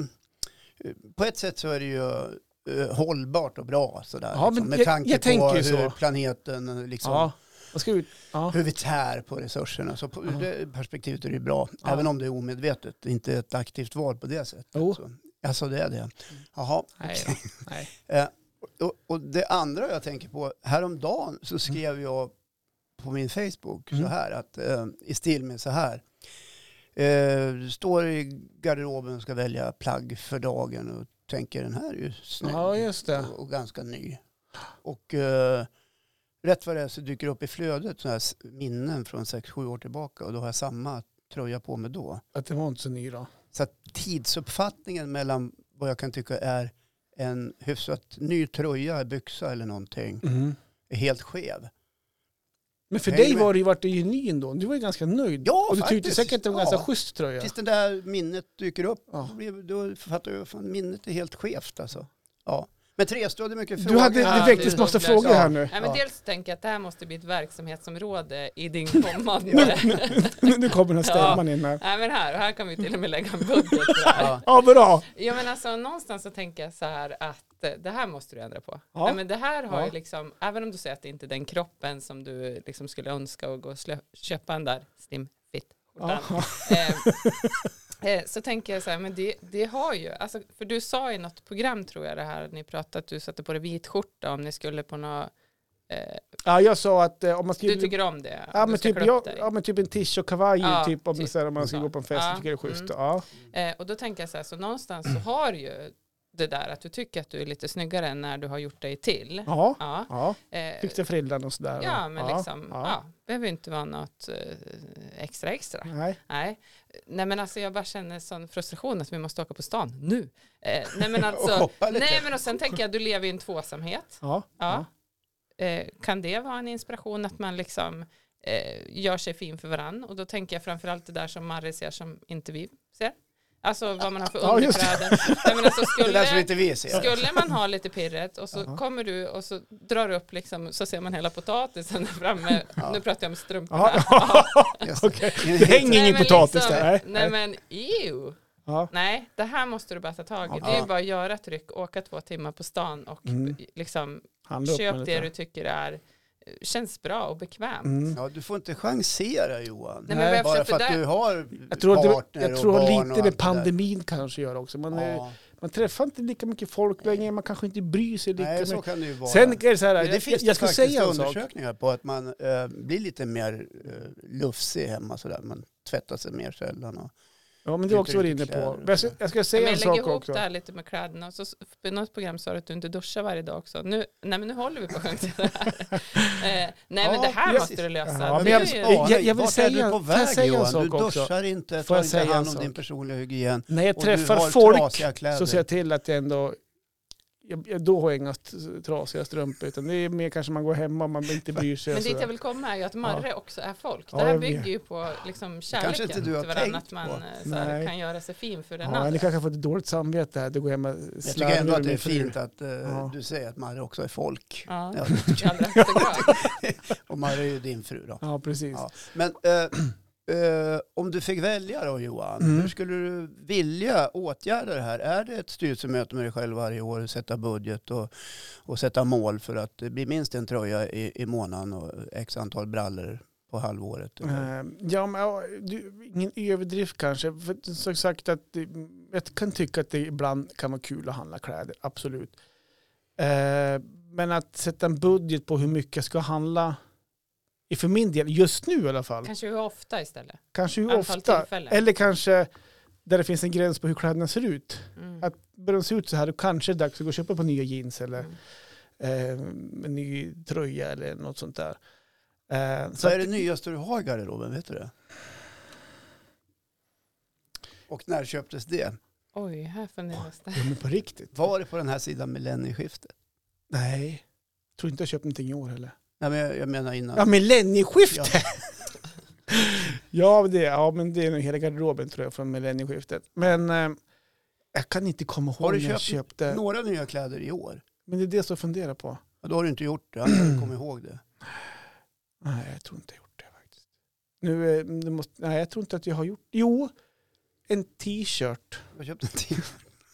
på ett sätt så är det ju eh, hållbart och bra sådär. Ja, men liksom, med jag- tanke jag på tänker hur ju så. planeten, liksom, ja, vad ska vi, ja. hur vi tär på resurserna. Så på Ja. det perspektivet är det ju bra. Ja. Även om det är omedvetet, inte ett aktivt val på det sättet. Jo. Så, alltså det är Mm. det. Jaha. Nej, okej. då. Nej. Eh, och, och det andra jag tänker på, häromdagen så skrev jag på min Facebook så Mm. här, att, eh, i stil med så här. Eh, står i garderoben och ska välja plagg för dagen och tänker den här är ju snygg Ja, just det. och, och ganska ny. Och eh, rätt vad det är så dyker det upp i flödet sådana här s- minnen från 6-7 år tillbaka och då har jag samma tröja på mig då. Att det var inte så ny då. Så att tidsuppfattningen mellan vad jag kan tycka är en hyfsat ny tröja, byxa eller någonting är helt skev. Men för Häng dig med. var det ju, vart det ju ny ändå. Du var ju ganska nöjd. Ja, Och du tyckte faktiskt. säkert att det var en Ja. ganska schysst tröja. Tills det där minnet dyker upp, Ja. då, blir, då fattar jag att minnet är helt skevt alltså. Ja. Men Therese, du hade mycket Du frågor. hade, Ja, det väcktes det- massa det- frågor ja. här nu. Nej, men Ja. dels tänker jag att det här måste bli ett verksamhetsområde i din kommande... Nu nu kommer den här Ja. stämman in här. Nej men här, här kan vi till och med lägga en budget för det här. Ja. Ja, bra. Ja men alltså någonstans så tänker jag så här att eh, det här måste du ändra på. Ja. Nej, men det här har Ja. ju liksom, även om du säger att det inte är den kroppen som du liksom skulle önska och gå och slö- köpa den där slim fit Ja. eh, eh, så tänker jag så här, men det, det har ju, alltså, för du sa i något program tror jag det här, ni pratade att du satte på dig vit skjorta om ni skulle på något, eh, Ja, jag sa att eh, om man du skriver... tycker om det? Ja om du men, ska typ, klä upp jag, dig. ja men typ en t-shirt och kavaj Ja, typ, om, typ. så här, om man ska Ja. gå på en fest. Ja, Jag tycker det är schysst. mm. Ja. Eh, och då tänker jag så här, så någonstans så har ju det där att du tycker att du är lite snyggare än när du har gjort dig till. Ja. Ja. ja, Eh, fick till frillan och sådär. ja, men liksom, ja. ja. behöver ju inte vara något eh, extra extra. Nej. Nej. nej, men alltså jag bara känner sån frustration att vi måste åka på stan nu. Eh, nej, men Och alltså, shoppa lite. nej, men och sen tänker jag, du lever i en tvåsamhet. Ja. Ja. Eh, kan det vara en inspiration att man liksom eh, gör sig fin för varann? Och då tänker jag framförallt det där som Marre ser som inte vi ser. Alltså vad man har för Ja, just det. underkläder. Nej, men alltså, Det där som skulle, inte vi ser. skulle man ha lite pirret och så Jaha. kommer du och så drar du upp liksom, så ser man hela potatisen där framme. Nu pratar jag om strumporna. Ja. Just det. Okej, det hänger Nej, ingen men potatis liksom, där. Nej. Nej men ew. Ja. Nej, det här måste du bara ta tag i. Det är ju bara att göra ett ryck, åka två timmar på stan och Mm. liksom Handla upp med köp lite. det du tycker är, eh, känns bra och bekvämt. Mm. Ja, du får inte chansera Johan. Nej, men vad jag Bara för försökte att där- du har Jag tror, att det, partner jag och tror barn och lite allt det med där. pandemin kanske gör också. Man, eh, Ja. man träffar inte lika mycket folk längre, man kanske inte bryr sig lika Nej, så mycket. kan det ju vara. Sen är det så här, Men det jag, finns jag jag ska faktiskt säga en sak. undersökningar på att man eh, blir lite mer eh, lufsig hemma sådär. Man tvättar sig mer sällan. Och, Ja, men det har jag också varit inne Kläder och på. Men Jag ska, jag ska säga men en jag lägger sak ihop också. det här lite med kläderna. Och så, för något program sa du att du inte duschar varje dag också. Nu, nej men nu håller vi på att chansa det här. eh, nej men Ja, det här precis. måste du lösa. Ja, men Det jag- är ju- jag- jag vill Vart säga- är du på får jag väg säga en Johan? sak Du också? duschar Får inte, tar jag inte säga hand en om sak? din personliga hygien. När jag och du träffar har folk trasiga kläder. så ser jag till att jag ändå jag, jag, då har jag inga st- trasiga strumpor utan det är mer kanske man går hemma och man inte bryr sig. och Men dit jag sådär. vill komma är ju att Marre också är folk. Ja, det här jag vet. bygger ju på liksom kärleken inte du har till varandra. tänkt Att man på. eh, så här, Nej. kan göra sig fin för den Ja, ni andra. kanske har fått ett dåligt samvete här. Du går hem och Jag tycker ändå att det är fint att eh, Ja. du säger att Marie också är folk. Ja, Ja. i allra högsta grad. Och Marie är ju din fru då. Ja, precis. Ja. Men eh, eh, om du fick välja då Johan, Mm. hur skulle du vilja åtgärda det här? Är det ett styrelsemöte med dig själv varje år och sätta budget och, och sätta mål för att det blir minst en tröja i, i månaden och x antal brallor på halvåret? Typ. eller? Eh, Ja, men, ja, du, ingen överdrift kanske. För, som sagt, att, det- jag kan tycka att det ibland kan vara kul att handla kläder, absolut. Eh, Men att sätta en budget på hur mycket jag ska handla, är för min del, just nu i alla fall, Kanske hur ofta istället. kanske hur Antal ofta, tillfällen. eller kanske där det finns en gräns på hur kläderna ser ut. Mm. Att börjar de se ut så här, då kanske det är dags att gå och köpa på nya jeans eller Mm. eh, en ny tröja eller något sånt där. Eh, så Vad är att- det nyaste du har i garderoben? Vet du det? Och när köptes det? Oj, här funderas det. Ja, men på riktigt. Var det på den här sidan millennieskiftet? Nej, jag tror inte jag köpt någonting i år heller. Nej, men jag, jag menar innan. Ja, millennieskiftet! Ja, det, ja, men det är nog hela garderoben tror jag från millennieskiftet. Men eh, jag kan inte komma ihåg Har du när jag köpt köpte. Några nya kläder i år. Men det är det som jag funderar på. Och då har du inte gjort det, annars hade du kommit ihåg det. Nej, jag tror inte jag gjort det faktiskt. Nu, eh, det måste, nej, jag tror inte att jag har gjort. Jo, en t-shirt. Jag köpte en till.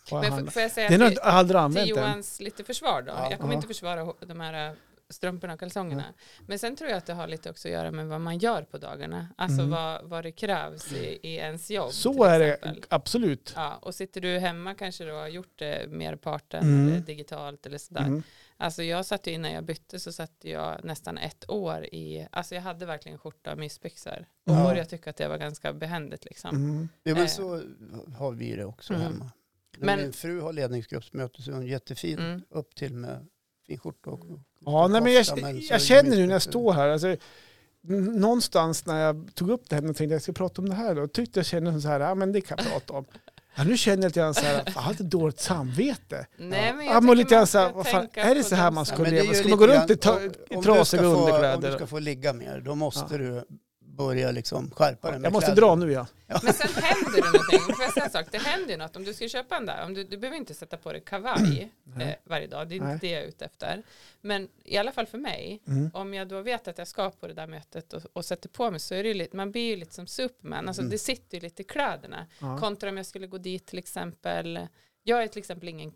har jag Men f- handlat. får jag säga Den har till- jag aldrig till använt än. Johans lite försvar då. Ja. jag kommer Ja. inte försvara ho- de här äh, strumporna och kalsongerna. Men sen tror jag att det har lite också att göra med vad man gör på dagarna. Alltså Mm. vad, vad det krävs i, i ens jobb. till Så är det, exempel. absolut. Ja, och sitter du hemma kanske du har gjort det merparten Mm. eller digitalt eller sådär. Mm. Alltså jag satt ju innan jag bytte så satt jag nästan ett år i, alltså jag hade verkligen skjorta och mysbyxor. Och Ja. började tycka att det var ganska behändigt liksom. Mm. Ja, men Eh. så har vi det också Mm. hemma. Men- Min fru har ledningsgruppsmöte så hon är jättefin Mm. upp till med fin skjorta och Ja, nej, men jag, kofta, men så är jag det känner nu mycket när jag för- står här, alltså, n- någonstans när jag tog upp det här och tänkte jag ska prata om det här då, tyckte jag kände så här, ja men det kan jag prata om. Ja, nu känner jag lite grann så här, fan, jag har lite dåligt samvete. Nej, men jag Ja, men tycker lite grann man så här, ska vad fan, tänka är det på så här dem man som- skulle Men det leva? är ju Ska man lite gå runt i, grann- ta, om- i om du ska trasiga få- Om underkläder? du ska få ligga mer, då måste du börja liksom skärpa dig med Jag måste kläder. dra nu ja. Men sen händer det någonting. Får jag säga en sak? Det händer ju något. Om du ska köpa en där, om du, du behöver inte sätta på dig kavaj eh, varje dag. Det är Mm. Nej. inte det jag är ute efter. Men i alla fall för mig, Mm. om jag då vet att jag ska på det där mötet och, och sätter på mig så är det ju lite, man blir ju lite som Superman. Alltså det sitter ju lite i kläderna. Mm. Ja. Kontra om jag skulle gå dit till exempel. Jag är till exempel ingen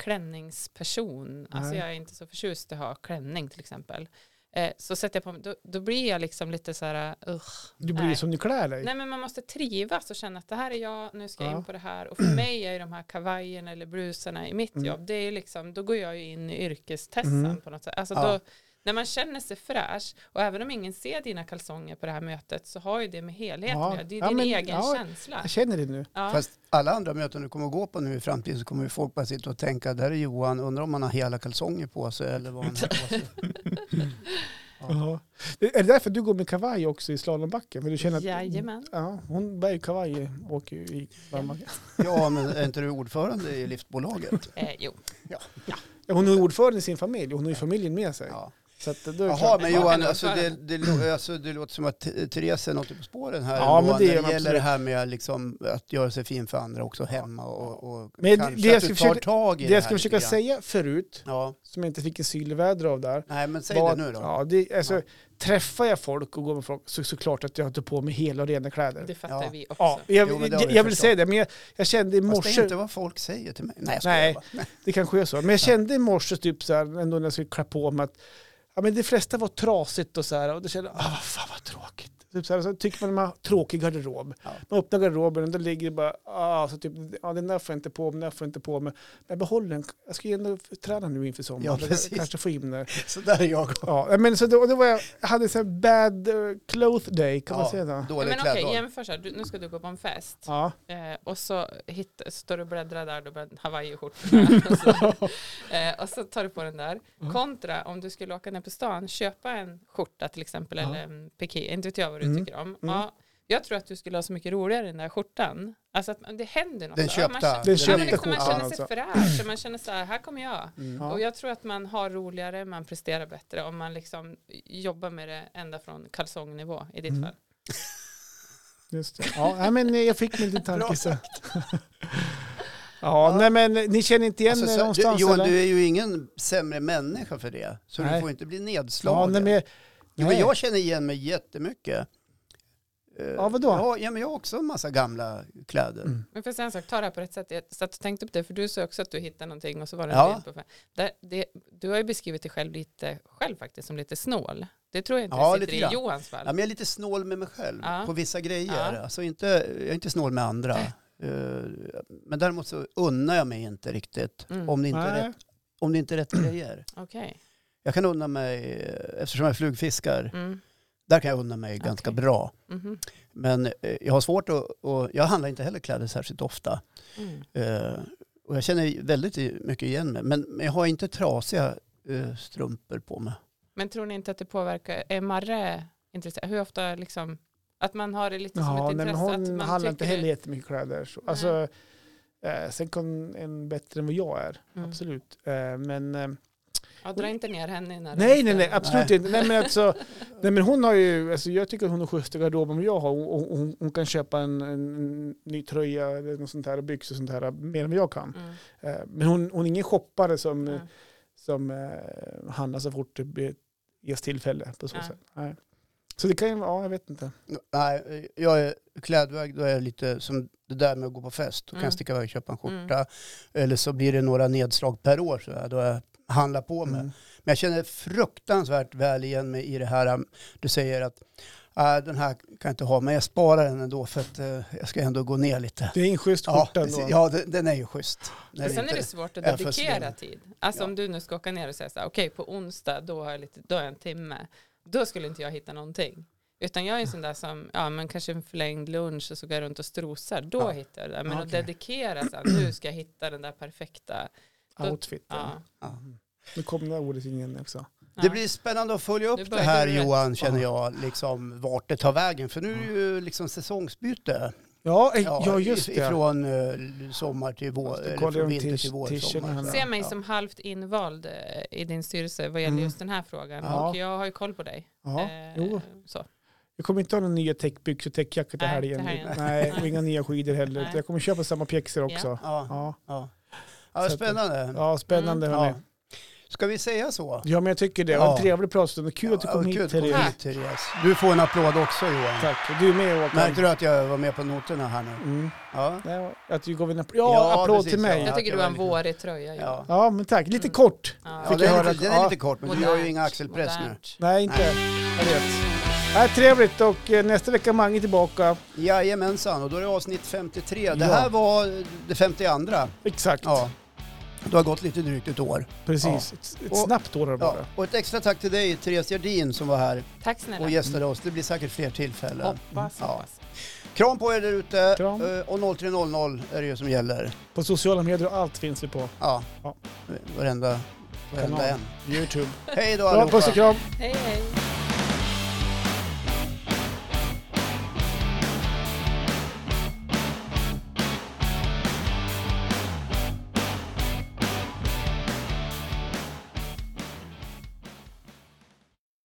klänningsperson. Alltså Nej. jag är inte så förtjust i att ha klänning till exempel. Eh, så sätter jag på mig, då, då blir jag liksom lite så här, ugh. Du blir ju Nej. som du klär dig. Nej men man måste trivas och känna att det här är jag, nu ska jag Ja. in på det här. Och för mig är ju de här kavajerna eller blusarna i mitt Mm. jobb, det är ju liksom, då går jag ju in i yrkestessan Mm. på något sätt. Alltså Ja. då, när man känner sig fräsch och även om ingen ser dina kalsonger på det här mötet så har ju det med helheten Ja. att göra. Det är Ja, din men- egen ja. känsla. Jag känner det nu. Ja. Fast alla andra möten du kommer gå på nu i framtiden så kommer ju folk bara sitta och tänka, där är Johan, undrar om han har hela kalsonger på sig eller vad han har på sig. Ja. Är det därför du går med kavaj också i slalombacken? För du känner att, Jajamän. Ja, hon bär ju kavaj och åker ju i varmbacken. Ja, men är inte du ordförande i liftbolaget? Eh, jo. Ja, Hon är ordförande i sin familj, hon har ju familjen med sig. Ja. Så att, då är det Jaha, klart- men Ja, Johan, men alltså det, det, ordförande. lå- alltså det låter som att T- Therese är något på spåren här. Ja, men Johan, det är när hon det gäller absolut. det här med liksom att göra sig fin för andra också hemma och, och Men det- kanske det jag att du ska tar försöka- tag i Det det, jag här ska försöka lite grann. säga förut, Ja, som jag inte fick en sylväder av där. nej men säg var det nu att- då. Ja, det, alltså, Ja. Träffar jag folk och går med folk så såklart att jag har tagit på mig hela och rena kläder. Det fattar Ja. vi också. ja, jag, Jo, men det har jag, vi jag vill förstått. säga det, men jag, jag kände i Fast det morse, är inte vad folk säger till mig. Nej, jag skojar Nej. bara. det kanske är så, men jag kände i morse typ så här, ändå när jag skulle klä på mig att ja, men det flesta var trasigt och så här, och då kände jag, ah, fan vad tråkigt. Typ så, här, så tycker man att man har tråkig garderob. Ja. Man öppnar garderoben och då ligger det bara, ah, så typ, ah, den där får jag inte på mig, den där får jag inte på mig. Men jag behåller den, jag ska ju ändå träna nu inför sommaren, Ja, precis. kanske få in det. Så där är jag. Ja, men så då, då var jag, jag hade så här bad eh, cloth day, kan man Ja, säga det? Ja, Dålig men okej, kläddag. jämför så här. Du, nu ska du gå på en fest. Ja. Eh, och så hit, står du och bläddrar där, då börjar hawaiiskjortorna. och, så, eh, och så tar du på den där. Kontra om du skulle åka ner på stan, köpa en skjorta till exempel, Ja. eller en piké, inte vet jag vad du Mm. tycker om. Ja, jag tror att du skulle ha så mycket roligare i den där skjortan. Alltså att det händer något. Den Ja, man köpta. känner- Den Ja, köpta men liksom man skjortan känner sig alltså. fräsch och man känner så här, här kommer jag. Mm. Ja. Och jag tror att man har roligare, man presterar bättre om man liksom jobbar med det ända från kalsongnivå i ditt Mm. fall. Just det. Ja, nej, men eh, jag fick min liten Bra tanke. så. ja, nej men eh, ni känner inte igen Alltså, mig så, du, någonstans? Johan, eller? du är ju ingen sämre människa för det. Så Nej. du får inte bli ja, nedslagen. nej, men, Jo, men nej. jag känner igen mig jättemycket. Eh, Ja, vadå? Ja, ja, men jag har också en massa gamla kläder. Mm. Men får jag säga en sak, ta det här på rätt sätt. Jag satt och tänkte på det, för du sa också att du hittade någonting och så var det Ja. en bild på mig. Där, det, Du har ju beskrivit dig själv lite, själv faktiskt, som lite snål. Det tror jag inte Ja, det sitter lite i grann. Johans fall. Ja, men jag är lite snål med mig själv Ja. på vissa grejer. Ja. Alltså inte, jag är inte snål med andra. Eh, Men däremot så unnar jag mig inte riktigt Mm. om, det inte är Nej. rätt, om det inte är rätt grejer. Okej. Jag kan unna mig, eh, eftersom jag flugfiskar, Mm. där kan jag unna mig ganska Okej. bra. Mhm. Men eh, jag har svårt att, och jag handlar inte heller kläder särskilt ofta. Mm. Eh, och jag känner väldigt mycket igen mig. Men, men jag har inte trasiga eh, strumpor på mig. Men tror ni inte att det påverkar, är Marre intresserad? Hur ofta liksom, att man har det lite som Ja, nej, ett men intresse? hon att man handlar inte tycker- heller jättemycket kläder. Så. Nej. Alltså, eh, sen kom en bättre än vad jag är, Mm. absolut. Eh, men eh, Ja, dra inte ner henne i den här Nej, nej, rutan. nej, absolut Nej. inte. Nej, men alltså, nej, men hon har ju, alltså, jag tycker att hon har schyssta garderob än vad jag har. Hon, hon, hon kan köpa en, en ny tröja eller något sånt här, och byxor och sånt här, mer än vad jag kan. Mm. Eh, Men hon, hon är ingen shoppare som, Ja. som eh, handlar så fort det blir- ges tillfälle på så Ja. sätt. Nej. Så det kan ju vara, ja, jag vet inte. Nej, eh, jag är klädväg, då är jag lite som det där med att gå på fest. Då kan Mm. jag sticka iväg och köpa en Mm. skjorta. Eller så blir det några nedslag per år så här, då jag handlar på mig. Mm. Men jag känner fruktansvärt väl igen mig i det här. um, Du säger att "Ah, den här kan jag inte ha, men jag sparar den ändå för att eh, jag ska ändå gå ner lite. Det är en schysst Ja, skjorta precis. ändå. ja den, den är ju schysst. Den Men sen inte- är det svårt att är för dedikera snäll. tid. Alltså Ja. om du nu ska åka ner och säga så här, okej på onsdag då har jag, lite, då har jag en timme. Då skulle inte jag hitta någonting. Utan jag är en sån där som, ja men kanske en förlängd lunch och så går jag runt och strosar. Då Ja. hittar jag det där. Men att Okej. dedikera så här, nu ska jag hitta den där perfekta. då- Outfit. Mm. Ja. Ja. Nu kom det här ordet in igen också. Ja. Det blir spännande att följa Nu upp det börjar här du rätt. Johan, känner jag, liksom vart det tar vägen. För nu är det ju liksom säsongsbyte. Ja, eh, ja, just if- det. Ifrån eh, sommar till vår, Måste eller kolla från om vinter tish- till vår. tishen Sommar, handlar. Se mig Ja. som halvt invald eh, i din styrelse vad gäller Mm. just den här frågan. Ja. Och jag har ju koll på dig. Ja, Eh, jo. Så. Jag kommer inte ha några nya täckbyxor och täckjacka till Nej, helgen. till helgen. Nej, och Nej. inga nya skidor heller. Nej. Jag kommer köpa samma pjäxor också. Ja, Ja, ja. ja Så att- spännande. ja spännande Mm. Ja. hörni. Ska vi säga så? Ja, men jag tycker det. Det var en Ja. trevlig pratstund och kul att du Ja, kom kul hit att du Therese. Tack. hit, Therese. Du får en applåd också Johan. Tack. Och Du är med Märkte Håkan. du att jag var med på noterna här nu? Mm. Ja, Det var- Att du gav en applåd. Ja, Ja, applåd precis, till mig. ja. Ja. Jag tycker det du har var en lite- vårig tröja. Johan. ja. men tack. Lite Mm. kort. Ja. ja Fick den, jag är höra lite, att- den är ja. lite kort, men du gör ju inga axelpress nu. Modernt. Nej, inte. Jag vet. Nej, trevligt och eh, nästa vecka är Mange tillbaka. Jajamensan, och då är det avsnitt 53. Det Ja. här var det 52. Exakt. Ja. Du har gått lite drygt ett år. Precis. Ett, ett Och- snabbt år har det Ja. varit. Och ett extra tack till dig, Therese Gerdin, som var här Tack snälla. och gästade oss. Det blir säkert fler tillfällen. Hoppas, Ja. hoppas. Kram på er där ute. Kram. Eh, Och 03.00 är det ju som gäller. På sociala medier och allt finns vi på. Ja, Ja. varenda, varenda Kanal. en. Youtube. Hej då Bra, allihopa. puss och kram. Hej, hej.